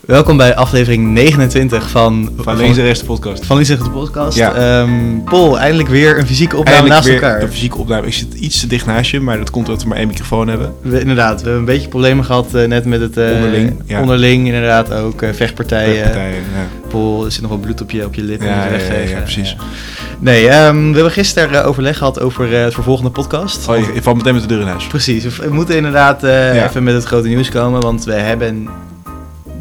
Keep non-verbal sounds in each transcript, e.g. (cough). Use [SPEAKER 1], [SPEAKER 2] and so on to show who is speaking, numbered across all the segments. [SPEAKER 1] Welkom bij aflevering 29 van...
[SPEAKER 2] Van links de rest de podcast.
[SPEAKER 1] Van Lies zegt de podcast.
[SPEAKER 2] Ja.
[SPEAKER 1] Ehm, Paul, eindelijk weer een fysieke opname
[SPEAKER 2] Eindelijk
[SPEAKER 1] naast
[SPEAKER 2] weer
[SPEAKER 1] elkaar.
[SPEAKER 2] Een fysieke opname. Ik zit iets te dicht naast je, maar dat komt omdat we maar één microfoon hebben.
[SPEAKER 1] We- inderdaad, we hebben een beetje problemen gehad eh, net met het... eh,
[SPEAKER 2] Onderling, ja.
[SPEAKER 1] Onderling, inderdaad ook. eh, vechtpartijen.
[SPEAKER 2] Partijen, ja.
[SPEAKER 1] Paul, er zit nog wat bloed op je, op je lip.
[SPEAKER 2] Ja,
[SPEAKER 1] moet je
[SPEAKER 2] ja, ja,
[SPEAKER 1] weggeven.
[SPEAKER 2] ja, precies.
[SPEAKER 1] Nee, ehm, we hebben gisteren eh, overleg gehad over eh, het vervolgende podcast.
[SPEAKER 2] Oh, je, je valt meteen met de deur in huis.
[SPEAKER 1] Precies, we- we moeten inderdaad eh,
[SPEAKER 2] Ja.
[SPEAKER 1] even met het grote nieuws komen, want we hebben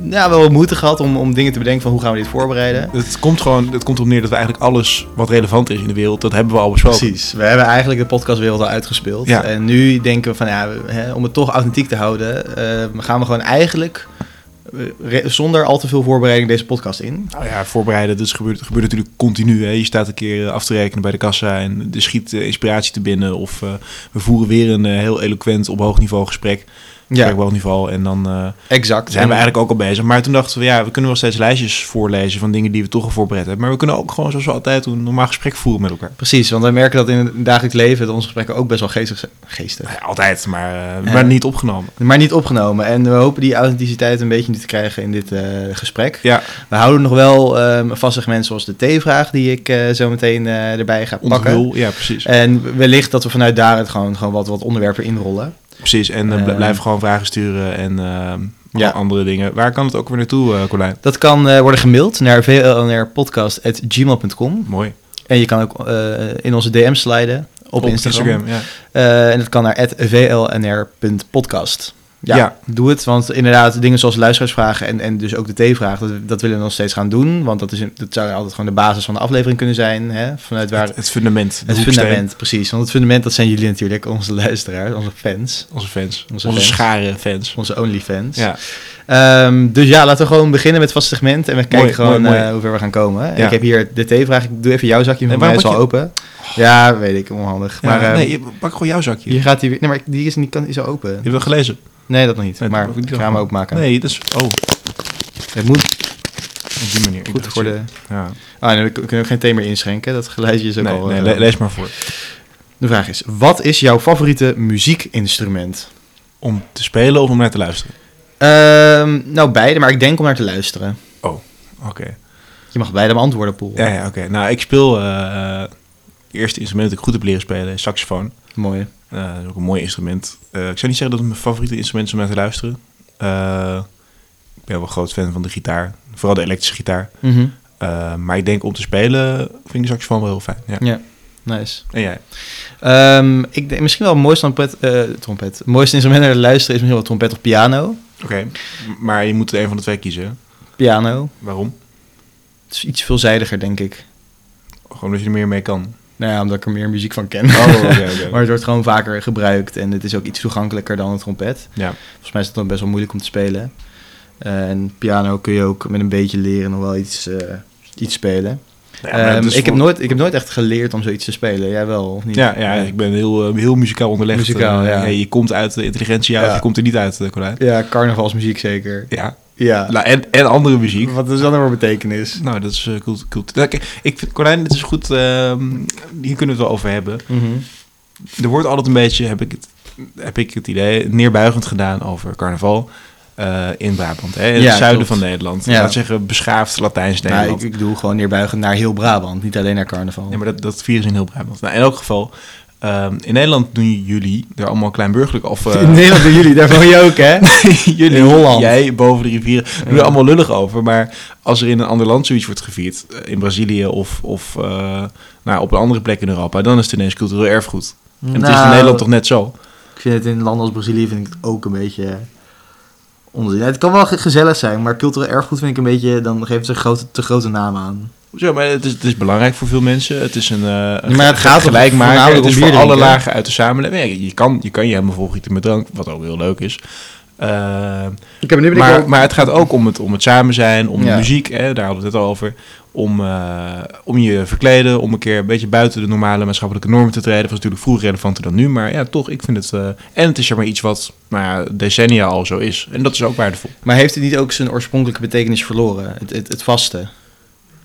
[SPEAKER 1] ja, wel wat moeite gehad om, om dingen te bedenken van hoe gaan we dit voorbereiden.
[SPEAKER 2] Het komt gewoon het komt op neer dat we eigenlijk alles wat relevant is in de wereld, dat hebben we al besproken.
[SPEAKER 1] Precies, we hebben eigenlijk de podcastwereld al uitgespeeld.
[SPEAKER 2] Ja.
[SPEAKER 1] En nu denken we van ja, we- hè, om het toch authentiek te houden, eh, gaan we gewoon eigenlijk eh, re- zonder al te veel voorbereiding deze podcast in.
[SPEAKER 2] Nou ja, voorbereiden, dat gebeurt, gebeurt natuurlijk continu. Hè. Je staat een keer eh, af te rekenen bij de kassa en er schiet eh, inspiratie te binnen. Of eh, we voeren weer een eh, heel eloquent op hoog niveau gesprek. Gesprek op hoog niveau en dan... eh,
[SPEAKER 1] exact.
[SPEAKER 2] zijn we
[SPEAKER 1] En-
[SPEAKER 2] eigenlijk ook al bezig. Maar toen dachten we, ja, we kunnen wel steeds lijstjes voorlezen van dingen die we toch al voorbereid hebben. Maar we kunnen ook gewoon, zoals we altijd doen, een normaal gesprek voeren met elkaar.
[SPEAKER 1] Precies, want wij merken dat in het dagelijks leven dat onze gesprekken ook best wel geestig zijn. Geestig.
[SPEAKER 2] Nou ja, altijd, maar, eh,
[SPEAKER 1] Ja.
[SPEAKER 2] maar niet opgenomen.
[SPEAKER 1] Maar niet opgenomen. En we hopen die authenticiteit een beetje nu te krijgen in dit eh, gesprek.
[SPEAKER 2] Ja,
[SPEAKER 1] We houden nog wel ehm, een vast segment zoals de T-vraag die ik eh, zo meteen eh, erbij ga
[SPEAKER 2] ons
[SPEAKER 1] pakken.
[SPEAKER 2] doel, ja, precies.
[SPEAKER 1] En wellicht dat we vanuit daaruit gewoon, gewoon wat, wat onderwerpen inrollen.
[SPEAKER 2] precies. En eh, bl-
[SPEAKER 1] eh,
[SPEAKER 2] blijf gewoon vragen sturen en eh,
[SPEAKER 1] Ja.
[SPEAKER 2] andere dingen. Waar kan het ook weer naartoe, eh, Colijn?
[SPEAKER 1] Dat kan eh, worden gemaild naar vlnrpodcast.gmail.com.
[SPEAKER 2] Mooi.
[SPEAKER 1] En je kan ook eh, in onze DM sliden op, Instagram.
[SPEAKER 2] ja.
[SPEAKER 1] Eh, en dat kan naar vlnr.podcast. Ja,
[SPEAKER 2] Ja.
[SPEAKER 1] doe het. Want inderdaad, dingen zoals luisteraarsvragen en, en dus ook de T-vraag, dat, dat willen we nog steeds gaan doen. Want dat, is, een- dat zou altijd gewoon de basis van de aflevering kunnen zijn. Hè? Vanuit waar
[SPEAKER 2] Het, het fundament. de
[SPEAKER 1] Het
[SPEAKER 2] hoeksteen.
[SPEAKER 1] fundament, precies. Want het fundament, dat zijn jullie natuurlijk, onze luisteraars, onze fans,
[SPEAKER 2] Onze fans.
[SPEAKER 1] Onze
[SPEAKER 2] Onze,
[SPEAKER 1] fans.
[SPEAKER 2] schare fans.
[SPEAKER 1] onze OnlyFans.
[SPEAKER 2] Ja.
[SPEAKER 1] Ehm, dus ja, laten we gewoon beginnen met het vaste segment en we kijken
[SPEAKER 2] Mooi,
[SPEAKER 1] gewoon
[SPEAKER 2] mooi,
[SPEAKER 1] eh,
[SPEAKER 2] mooi.
[SPEAKER 1] hoe ver we gaan komen. En
[SPEAKER 2] Ja.
[SPEAKER 1] Ik heb hier de T-vraag, ik doe even jouw zakje,
[SPEAKER 2] Nee,
[SPEAKER 1] want mij is al
[SPEAKER 2] waarom
[SPEAKER 1] open. Ja, weet ik, onhandig.
[SPEAKER 2] Ja,
[SPEAKER 1] maar ehm,
[SPEAKER 2] nee, eh, je- pak gewoon jouw zakje.
[SPEAKER 1] hier gaat hij weer, nee, maar die is, niet, kan, is al open.
[SPEAKER 2] Je hebt wel gelezen.
[SPEAKER 1] Nee, dat nog niet,
[SPEAKER 2] Nee,
[SPEAKER 1] maar
[SPEAKER 2] dat-
[SPEAKER 1] ik ga hem openmaken.
[SPEAKER 2] Nee, dat is... Oh, op
[SPEAKER 1] Het moet
[SPEAKER 2] die manier. Ik
[SPEAKER 1] goed
[SPEAKER 2] dacht
[SPEAKER 1] voor
[SPEAKER 2] zo.
[SPEAKER 1] de...
[SPEAKER 2] Ja.
[SPEAKER 1] Ah, nee, we kunnen ook geen thee meer inschenken, dat geluidje is ook
[SPEAKER 2] Nee,
[SPEAKER 1] al...
[SPEAKER 2] nee,
[SPEAKER 1] eh,
[SPEAKER 2] le- lees maar voor.
[SPEAKER 1] De vraag is, wat is jouw favoriete muziekinstrument?
[SPEAKER 2] Om te spelen of om naar te luisteren?
[SPEAKER 1] Ehm, nou, beide, maar ik denk om naar te luisteren.
[SPEAKER 2] Oké.
[SPEAKER 1] Je mag beide beantwoorden, Poel.
[SPEAKER 2] Ja, ja oké. Nou, ik speel... eh, eh, het eerste instrument dat ik goed heb leren spelen is saxofoon.
[SPEAKER 1] Mooi.
[SPEAKER 2] Eh, dat is ook een mooi instrument. Eh, ik zou niet zeggen dat het mijn favoriete instrument is om naar te luisteren. Eh, ik ben wel een groot fan van de gitaar. Vooral de elektrische gitaar. Eh, maar ik denk om te spelen vind ik de saxofoon wel heel fijn.
[SPEAKER 1] Mm.
[SPEAKER 2] Ja.
[SPEAKER 1] Nice.
[SPEAKER 2] En jij?
[SPEAKER 1] Ehm, ik denk misschien wel het mooiste trompet, eh, trompet. Het mooiste instrument naar te luisteren is misschien wel trompet of piano.
[SPEAKER 2] Oké. M- Maar je moet er een van de twee kiezen. hè?
[SPEAKER 1] Piano.
[SPEAKER 2] Waarom?
[SPEAKER 1] Het is iets veelzijdiger, denk ik.
[SPEAKER 2] Gewoon omdat je er meer mee kan.
[SPEAKER 1] Nou ja, omdat ik er meer muziek van ken.
[SPEAKER 2] Oh,
[SPEAKER 1] (laughs)
[SPEAKER 2] oké, oké.
[SPEAKER 1] maar het wordt gewoon vaker gebruikt en het is ook iets toegankelijker dan een trompet.
[SPEAKER 2] Ja.
[SPEAKER 1] Volgens mij is het dan best wel moeilijk om te spelen. Eh, en piano kun je ook met een beetje leren nog wel iets, eh, iets spelen.
[SPEAKER 2] Ja, maar
[SPEAKER 1] Ehm,
[SPEAKER 2] dat is
[SPEAKER 1] ik, heb
[SPEAKER 2] voor-
[SPEAKER 1] nooit, ik heb nooit echt geleerd om zoiets te spelen. Jij wel, of niet?
[SPEAKER 2] Ja, ja, ik ben heel, eh, heel muzikaal onderlegd.
[SPEAKER 1] Muzikaal,
[SPEAKER 2] Eh,
[SPEAKER 1] ja.
[SPEAKER 2] Je komt uit de intelligentie, ja, of
[SPEAKER 1] Ja.
[SPEAKER 2] je komt er niet uit, eh, Colijn.
[SPEAKER 1] ja, carnavalsmuziek zeker.
[SPEAKER 2] Ja,
[SPEAKER 1] Ja.
[SPEAKER 2] nou, en, en andere muziek.
[SPEAKER 1] Wat is dat nou voor betekenis?
[SPEAKER 2] Nou, dat is eh, cult- cult- Nou, kijk, ik vind, Colijn, het is goed. ehm, hier kunnen we het wel over hebben.
[SPEAKER 1] Mhm.
[SPEAKER 2] Er wordt altijd een beetje, heb ik het, heb ik het idee, neerbuigend gedaan over carnaval eh, in Brabant. Hè? In
[SPEAKER 1] Ja,
[SPEAKER 2] het zuiden
[SPEAKER 1] klopt.
[SPEAKER 2] van Nederland.
[SPEAKER 1] Ja.
[SPEAKER 2] Laat zeggen, beschaafd Latijns-Nederland.
[SPEAKER 1] Nou, ik, ik doe gewoon neerbuigen naar heel Brabant, niet alleen naar carnaval.
[SPEAKER 2] Nee, maar dat, dat virus in heel Brabant. Nou, in elk geval, ehm, in Nederland doen jullie er allemaal kleinburgerlijk of... eh,
[SPEAKER 1] In Nederland doen jullie, daar woon je ook, (laughs) hè?
[SPEAKER 2] jullie,
[SPEAKER 1] In Holland.
[SPEAKER 2] Jij boven de rivieren. Doe er allemaal lullig over. Maar als er in een ander land zoiets wordt gevierd, eh, in Brazilië of, of eh, nou, op een andere plek in Europa, dan is het ineens cultureel erfgoed. En het is in
[SPEAKER 1] Nou,
[SPEAKER 2] Nederland toch net zo?
[SPEAKER 1] Ik vind het in landen als Brazilië vind ik het ook een beetje onzin. Het kan wel ge- gezellig zijn, maar cultureel erfgoed vind ik een beetje, dan geeft het een grote, te grote naam aan.
[SPEAKER 2] Zo, maar het is, het is belangrijk voor veel mensen. Het is een, eh, een
[SPEAKER 1] maar het
[SPEAKER 2] ge-
[SPEAKER 1] gaat om-
[SPEAKER 2] gelijkmaker.
[SPEAKER 1] voornamelijk
[SPEAKER 2] Het
[SPEAKER 1] om
[SPEAKER 2] is
[SPEAKER 1] bier
[SPEAKER 2] voor alle
[SPEAKER 1] drinken, hè?
[SPEAKER 2] lagen uit de samenleving. Ja, je, kan, je kan je helemaal volgieten met drank, wat ook heel leuk is. Eh,
[SPEAKER 1] Ik heb nu
[SPEAKER 2] maar, maar het gaat ook om het, om het samen zijn, om
[SPEAKER 1] Ja.
[SPEAKER 2] de muziek, hè, daar hadden we het net al over. Om, eh, om je verkleden, om een keer een beetje buiten de normale maatschappelijke normen te treden. Dat was natuurlijk vroeger relevanter dan nu, maar ja, toch, ik vind het... eh, en het is zeg maar iets wat nou ja, decennia al zo is. En dat is ook waardevol.
[SPEAKER 1] maar heeft het niet ook zijn oorspronkelijke betekenis verloren? Het, het, het vaste.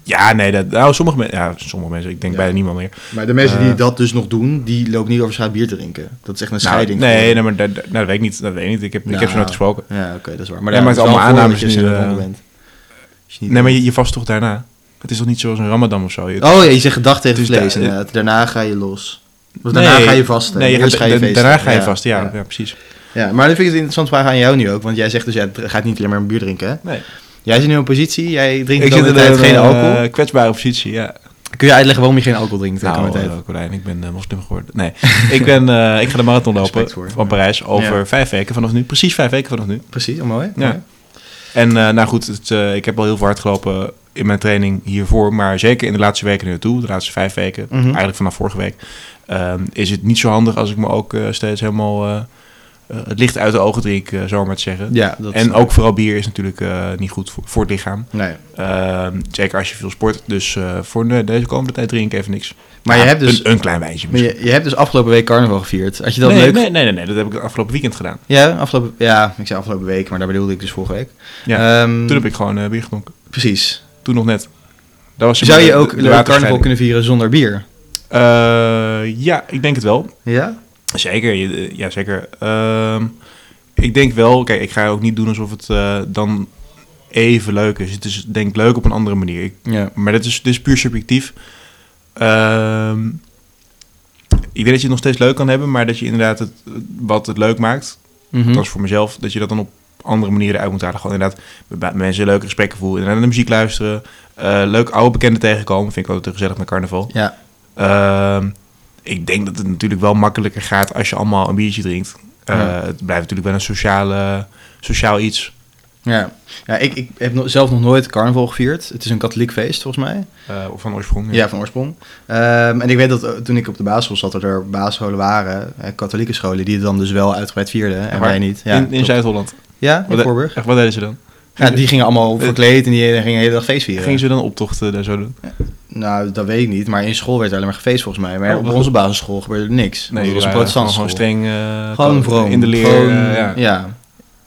[SPEAKER 2] Ja, nee, dat, nou, sommige, men- ja, sommige mensen, ik denk
[SPEAKER 1] Ja.
[SPEAKER 2] bijna niemand meer.
[SPEAKER 1] Maar de mensen
[SPEAKER 2] die
[SPEAKER 1] die dat dus nog doen, die lopen niet over straat bier drinken. Dat is echt een
[SPEAKER 2] Nou,
[SPEAKER 1] scheiding.
[SPEAKER 2] nee, nee, maar dat, dat- nou, dat weet ik niet. Dat weet ik niet. Ik heb, ik heb
[SPEAKER 1] Nou.
[SPEAKER 2] ze nooit gesproken.
[SPEAKER 1] Ja, oké, dat is waar. Maar daar
[SPEAKER 2] Jij maakt
[SPEAKER 1] is wel
[SPEAKER 2] allemaal
[SPEAKER 1] voor
[SPEAKER 2] aannames
[SPEAKER 1] dat je
[SPEAKER 2] nu,
[SPEAKER 1] zo'n
[SPEAKER 2] eh.
[SPEAKER 1] homo bent. Als je niet-
[SPEAKER 2] Nee, maar je, je vast toch daarna. Het is toch niet zoals een Ramadan of zo? Je-
[SPEAKER 1] Oh ja, je zegt gedag tegen
[SPEAKER 2] Dus
[SPEAKER 1] vlees
[SPEAKER 2] da-
[SPEAKER 1] inderdaad. Daarna ga je los. Of daarna
[SPEAKER 2] Nee,
[SPEAKER 1] ga je vasten.
[SPEAKER 2] Nee, je
[SPEAKER 1] Eerst
[SPEAKER 2] gaat, da-
[SPEAKER 1] feesten.
[SPEAKER 2] daarna ga je vast. Ja, ja.
[SPEAKER 1] ja.
[SPEAKER 2] precies.
[SPEAKER 1] Ja, maar dan vind ik het een interessante vraag aan jou nu ook. Want jij zegt dus, jij dr- gaat niet alleen maar een bier drinken. hè?
[SPEAKER 2] Nee.
[SPEAKER 1] Jij zit nu in een positie, jij drinkt
[SPEAKER 2] Ik
[SPEAKER 1] de
[SPEAKER 2] zit
[SPEAKER 1] komende
[SPEAKER 2] in
[SPEAKER 1] tijd
[SPEAKER 2] een
[SPEAKER 1] geen
[SPEAKER 2] eh,
[SPEAKER 1] alcohol.
[SPEAKER 2] kwetsbare positie, ja.
[SPEAKER 1] Kun je uitleggen waarom je geen alcohol drinkt de komende
[SPEAKER 2] Nou,
[SPEAKER 1] tijd?
[SPEAKER 2] eh, Colijn, ik ben eh, moslim geworden. Nee, (laughs) ik, ben, eh, ik ga de marathon lopen
[SPEAKER 1] Respect voor.
[SPEAKER 2] van Parijs over vijf weken vanaf nu. Precies vijf weken vanaf nu.
[SPEAKER 1] Precies, oh, mooi.
[SPEAKER 2] Ja.
[SPEAKER 1] mooi.
[SPEAKER 2] En eh, nou goed, het, eh, ik heb al heel veel hard gelopen in mijn training hiervoor. Maar zeker in de laatste weken nu naartoe, de laatste vijf weken,
[SPEAKER 1] Mhm.
[SPEAKER 2] eigenlijk vanaf vorige week, ehm, is het niet zo handig als ik me ook eh, steeds helemaal eh, eh, het licht uit de ogen drink, eh, zo maar te zeggen.
[SPEAKER 1] Ja, dat
[SPEAKER 2] en ook vooral bier is natuurlijk eh, niet goed voor, voor het lichaam.
[SPEAKER 1] Nee.
[SPEAKER 2] Ehm, zeker als je veel sport. Dus eh, voor de- deze komende tijd drink ik even niks.
[SPEAKER 1] Maar
[SPEAKER 2] Ja,
[SPEAKER 1] je hebt dus-
[SPEAKER 2] Een, een klein wijntje
[SPEAKER 1] Maar
[SPEAKER 2] misschien.
[SPEAKER 1] je, je hebt dus afgelopen week carnaval gevierd. Had je dat
[SPEAKER 2] nee,
[SPEAKER 1] leuk?
[SPEAKER 2] Nee, nee, nee, nee, dat heb ik het afgelopen weekend gedaan.
[SPEAKER 1] Ja, afgelopen, ja, ik zei afgelopen week, maar daar bedoelde ik dus vorige week.
[SPEAKER 2] Ja.
[SPEAKER 1] Ehm,
[SPEAKER 2] Toen heb ik gewoon eh, bier gedronken.
[SPEAKER 1] Precies.
[SPEAKER 2] Toen nog net. Dat was
[SPEAKER 1] Zou je
[SPEAKER 2] de-
[SPEAKER 1] ook leuk
[SPEAKER 2] de
[SPEAKER 1] carnaval
[SPEAKER 2] waterscheiding.
[SPEAKER 1] kunnen vieren zonder bier?
[SPEAKER 2] Eh, ja, ik denk het wel.
[SPEAKER 1] Ja?
[SPEAKER 2] Zeker, je- eh, ja zeker. Ehm, ik denk wel, kijk, ik ga ook niet doen alsof het eh, dan even leuk is. Het is denk ik leuk op een andere manier. Ik-
[SPEAKER 1] Ja.
[SPEAKER 2] maar dit is, dit is puur subjectief. Ehm, ik denk dat je het nog steeds leuk kan hebben, maar dat je inderdaad het, wat het leuk maakt,
[SPEAKER 1] Mhm.
[SPEAKER 2] dat is voor mezelf, dat je dat dan op andere manieren uit moet halen. Gewoon inderdaad met ba- mensen leuke gesprekken voeren, inderdaad naar de muziek luisteren, eh, leuk oude bekenden tegenkomen, vind ik altijd gezellig met carnaval.
[SPEAKER 1] Ja.
[SPEAKER 2] Ehm, ik denk dat het natuurlijk wel makkelijker gaat als je allemaal een biertje drinkt. Eh,
[SPEAKER 1] Ja.
[SPEAKER 2] Het blijft natuurlijk wel een sociale, sociaal iets.
[SPEAKER 1] Ja, ja ik, ik heb no- zelf nog nooit carnaval gevierd. Het is een katholiek feest, volgens mij.
[SPEAKER 2] eh, van oorsprong.
[SPEAKER 1] Ja, van oorsprong. Ehm, en ik weet dat eh, toen ik op de basisschool zat, dat er basisscholen waren, eh, katholieke scholen, die het dan dus wel uitgebreid vierden. En
[SPEAKER 2] Waar?
[SPEAKER 1] wij niet. Ja,
[SPEAKER 2] in in
[SPEAKER 1] klopt.
[SPEAKER 2] Zuid-Holland.
[SPEAKER 1] ja in
[SPEAKER 2] Wat-
[SPEAKER 1] Voorburg.
[SPEAKER 2] Echt, wat deden ze dan?
[SPEAKER 1] Ja, die gingen allemaal verkleed en die gingen de hele dag feest vieren.
[SPEAKER 2] Gingen ze dan optochten daar zo doen?
[SPEAKER 1] Nou, dat weet ik niet, maar in school werd er alleen maar gefeest, volgens mij. Maar
[SPEAKER 2] Oh,
[SPEAKER 1] op
[SPEAKER 2] wat
[SPEAKER 1] onze basisschool gebeurde er niks. Nee,
[SPEAKER 2] jullie
[SPEAKER 1] dat was een
[SPEAKER 2] waren gewoon-
[SPEAKER 1] protestantse
[SPEAKER 2] dus Gewoon
[SPEAKER 1] school.
[SPEAKER 2] streng. eh,
[SPEAKER 1] Gewoon
[SPEAKER 2] ko-
[SPEAKER 1] vroom.
[SPEAKER 2] In de leer.
[SPEAKER 1] Gewoon,
[SPEAKER 2] eh, ja.
[SPEAKER 1] ja.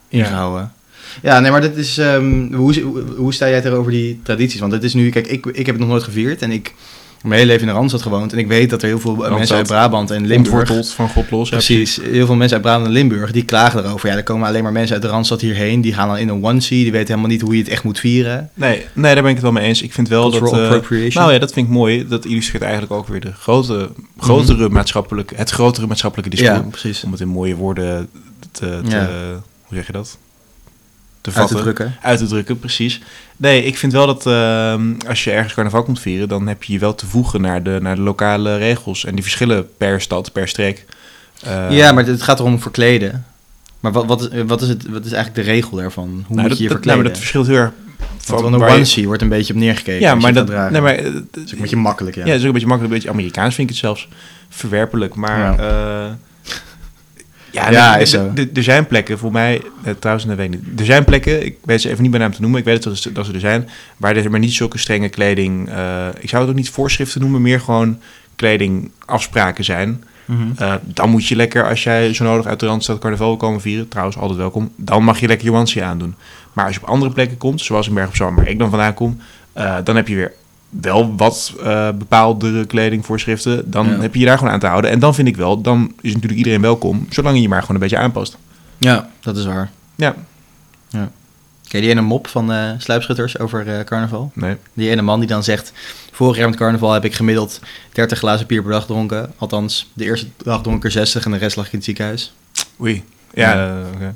[SPEAKER 1] ingehouden. Ja, nee, maar dat is... ehm, hoe, hoe sta jij tegenover die tradities? Want het is nu... Kijk, ik, ik heb het nog nooit gevierd en ik... Mijn hele leven in de Randstad gewoond. En ik weet dat er heel veel mensen uit Brabant en Limburg...
[SPEAKER 2] Ontworteld van God los. ja,
[SPEAKER 1] Precies. Heel veel mensen uit Brabant en Limburg, die klagen erover. Ja, er komen alleen maar mensen uit de Randstad hierheen. Die gaan dan in een onesie. Die weten helemaal niet hoe je het echt moet vieren.
[SPEAKER 2] Nee, nee, daar ben ik het wel mee eens. Ik vind wel dat...
[SPEAKER 1] Cultural
[SPEAKER 2] eh,
[SPEAKER 1] appropriation.
[SPEAKER 2] nou ja, dat vind ik mooi. Dat illustreert eigenlijk ook weer de grote, grotere maatschappelijke, het grotere maatschappelijke
[SPEAKER 1] Mhm. Ja,
[SPEAKER 2] discours.
[SPEAKER 1] precies.
[SPEAKER 2] Om het in mooie woorden te... te
[SPEAKER 1] Ja.
[SPEAKER 2] Hoe zeg je dat? Te
[SPEAKER 1] Uit te
[SPEAKER 2] vatten.
[SPEAKER 1] drukken.
[SPEAKER 2] Uit te drukken, precies. Nee, ik vind wel dat ehm, als je ergens carnaval komt vieren... dan heb je je wel te voegen naar de, naar de lokale regels. En die verschillen per stad, per streek. Eh,
[SPEAKER 1] ja, maar het gaat erom verkleden. Maar wat, wat, is, wat, is het, wat is eigenlijk de regel daarvan? Hoe
[SPEAKER 2] nou,
[SPEAKER 1] moet
[SPEAKER 2] dat,
[SPEAKER 1] je je
[SPEAKER 2] dat- nou,
[SPEAKER 1] verkleden?
[SPEAKER 2] maar dat verschilt heel erg...
[SPEAKER 1] Want van
[SPEAKER 2] waar
[SPEAKER 1] een
[SPEAKER 2] je-
[SPEAKER 1] onesie wordt een beetje op neergekeken.
[SPEAKER 2] Ja,
[SPEAKER 1] als
[SPEAKER 2] maar
[SPEAKER 1] je het
[SPEAKER 2] dat...
[SPEAKER 1] gaat dragen.
[SPEAKER 2] Nee, maar, eh,
[SPEAKER 1] Dus ik moet je makkelijk, ja.
[SPEAKER 2] Ja, dat is ook een beetje makkelijk. Een beetje Amerikaans vind ik het zelfs verwerpelijk. Maar
[SPEAKER 1] Ja. (laughs)
[SPEAKER 2] eh, ja,
[SPEAKER 1] Ja,
[SPEAKER 2] nee,
[SPEAKER 1] is
[SPEAKER 2] d-
[SPEAKER 1] zo.
[SPEAKER 2] d- d- er zijn plekken voor mij, eh, trouwens, dat weet ik niet. Er zijn plekken, ik weet ze even niet bij naam te noemen. Ik weet dat, ze- dat ze er zijn, waar er maar niet zulke strenge kleding. eh, ik zou het ook niet voorschriften noemen, meer gewoon kledingafspraken zijn. Eh, dan moet je lekker, als jij zo nodig uit de Randstad carnaval wil komen vieren, trouwens altijd welkom, dan mag je lekker je onesie aandoen. Maar als je op andere plekken komt, zoals in Berg op Zoom, waar ik dan vandaan kom, eh, dan heb je weer wel wat eh bepaalde kledingvoorschriften. Dan
[SPEAKER 1] Ja.
[SPEAKER 2] heb je je daar gewoon aan te houden. En dan vind ik wel, dan is natuurlijk iedereen welkom, zolang je je maar gewoon een beetje aanpast.
[SPEAKER 1] Ja, dat is waar.
[SPEAKER 2] Ja,
[SPEAKER 1] Ken je die ene mop van eh sluipschutters over eh, carnaval?
[SPEAKER 2] nee.
[SPEAKER 1] Die ene man die dan zegt... Vorig jaar met carnaval heb ik gemiddeld 30 glazen bier per dag gedronken. Althans, de eerste dag dronk ik er 60 en de rest lag ik in het ziekenhuis.
[SPEAKER 2] Oei. Ja, eh, oké.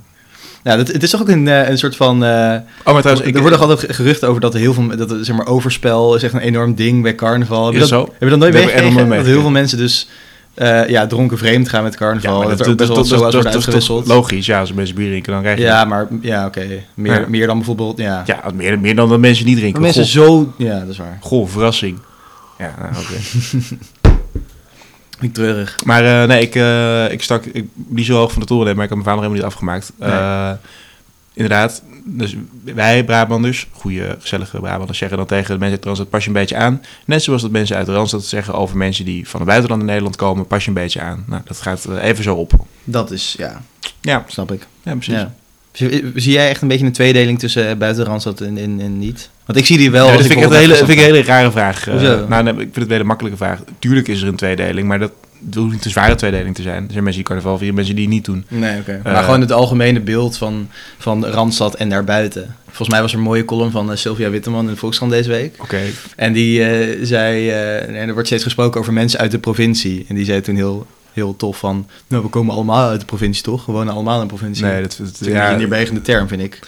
[SPEAKER 1] Nou, dat, het is toch ook een, eh, een soort van... eh,
[SPEAKER 2] Oh, maar trouwens, ik,
[SPEAKER 1] er worden altijd geruchten over dat er heel veel... Dat er, zeg maar, overspel is echt een enorm ding bij carnaval. Heb je
[SPEAKER 2] Is
[SPEAKER 1] dat,
[SPEAKER 2] zo.
[SPEAKER 1] Heb je dat nooit
[SPEAKER 2] Dat heb ik echt nog nooit
[SPEAKER 1] meegekregen? Dat heel
[SPEAKER 2] meegekregen.
[SPEAKER 1] veel mensen dus... eh, ja, dronken vreemd gaan met
[SPEAKER 2] ja,
[SPEAKER 1] carnaval.
[SPEAKER 2] maar
[SPEAKER 1] dat,
[SPEAKER 2] dat,
[SPEAKER 1] er ook
[SPEAKER 2] dat,
[SPEAKER 1] best wel
[SPEAKER 2] dat,
[SPEAKER 1] zo wordt
[SPEAKER 2] dat, dat is toch
[SPEAKER 1] uitgewisseld.
[SPEAKER 2] logisch. Ja, als mensen bier drinken, dan krijg je...
[SPEAKER 1] Ja, maar ja, oké. Meer,
[SPEAKER 2] Ja.
[SPEAKER 1] meer dan bijvoorbeeld, ja.
[SPEAKER 2] ja meer, meer dan dat mensen niet
[SPEAKER 1] Maar
[SPEAKER 2] drinken.
[SPEAKER 1] mensen
[SPEAKER 2] Goh,
[SPEAKER 1] zo... Ja, dat is waar.
[SPEAKER 2] goh, verrassing. Ja, nou,
[SPEAKER 1] (laughs)
[SPEAKER 2] oké.
[SPEAKER 1] Ik treurig.
[SPEAKER 2] Maar eh, nee, ik, eh, ik stak ik, niet zo hoog van de toren, maar ik heb mijn vader helemaal niet afgemaakt.
[SPEAKER 1] Nee.
[SPEAKER 2] Eh, inderdaad, dus wij Brabanders, goede gezellige Brabanders, zeggen dan tegen de mensen uit de Randstad, pas je een beetje aan. Net zoals dat mensen uit de Randstad zeggen over mensen die van het buitenland naar Nederland komen, pas je een beetje aan. Nou, dat gaat eh, even zo op.
[SPEAKER 1] Dat is, ja,
[SPEAKER 2] Ja,
[SPEAKER 1] snap ik.
[SPEAKER 2] ja precies.
[SPEAKER 1] Ja. Zie, zie jij echt een beetje een tweedeling tussen eh, buiten de Randstad en, en, en niet? Want dus ik zie die wel.
[SPEAKER 2] Nee,
[SPEAKER 1] als
[SPEAKER 2] dat vind ik, echt
[SPEAKER 1] op
[SPEAKER 2] een hele,
[SPEAKER 1] Randstad
[SPEAKER 2] vind ik een hele rare vraag. Eh,
[SPEAKER 1] Hoezo?
[SPEAKER 2] nou, nee, ik vind het een hele makkelijke vraag. Tuurlijk is er een tweedeling, maar dat, het hoeft niet een zware tweedeling te zijn. Er zijn mensen die carnaval vieren, mensen die het niet doen.
[SPEAKER 1] Nee, oké. Eh. maar gewoon het algemene beeld van, van Randstad en daarbuiten. Volgens mij was er een mooie column van eh, Sylvia Witteman in de Volkskrant deze week.
[SPEAKER 2] Oké,
[SPEAKER 1] En die eh, zei, eh, en er wordt steeds gesproken over mensen uit de provincie. En die zei toen heel, heel tof van, nou we komen allemaal uit de provincie toch? We wonen allemaal in de provincie.
[SPEAKER 2] nee, dat, dat-
[SPEAKER 1] Dat is een
[SPEAKER 2] ja,
[SPEAKER 1] neerbuigende term, vind ik.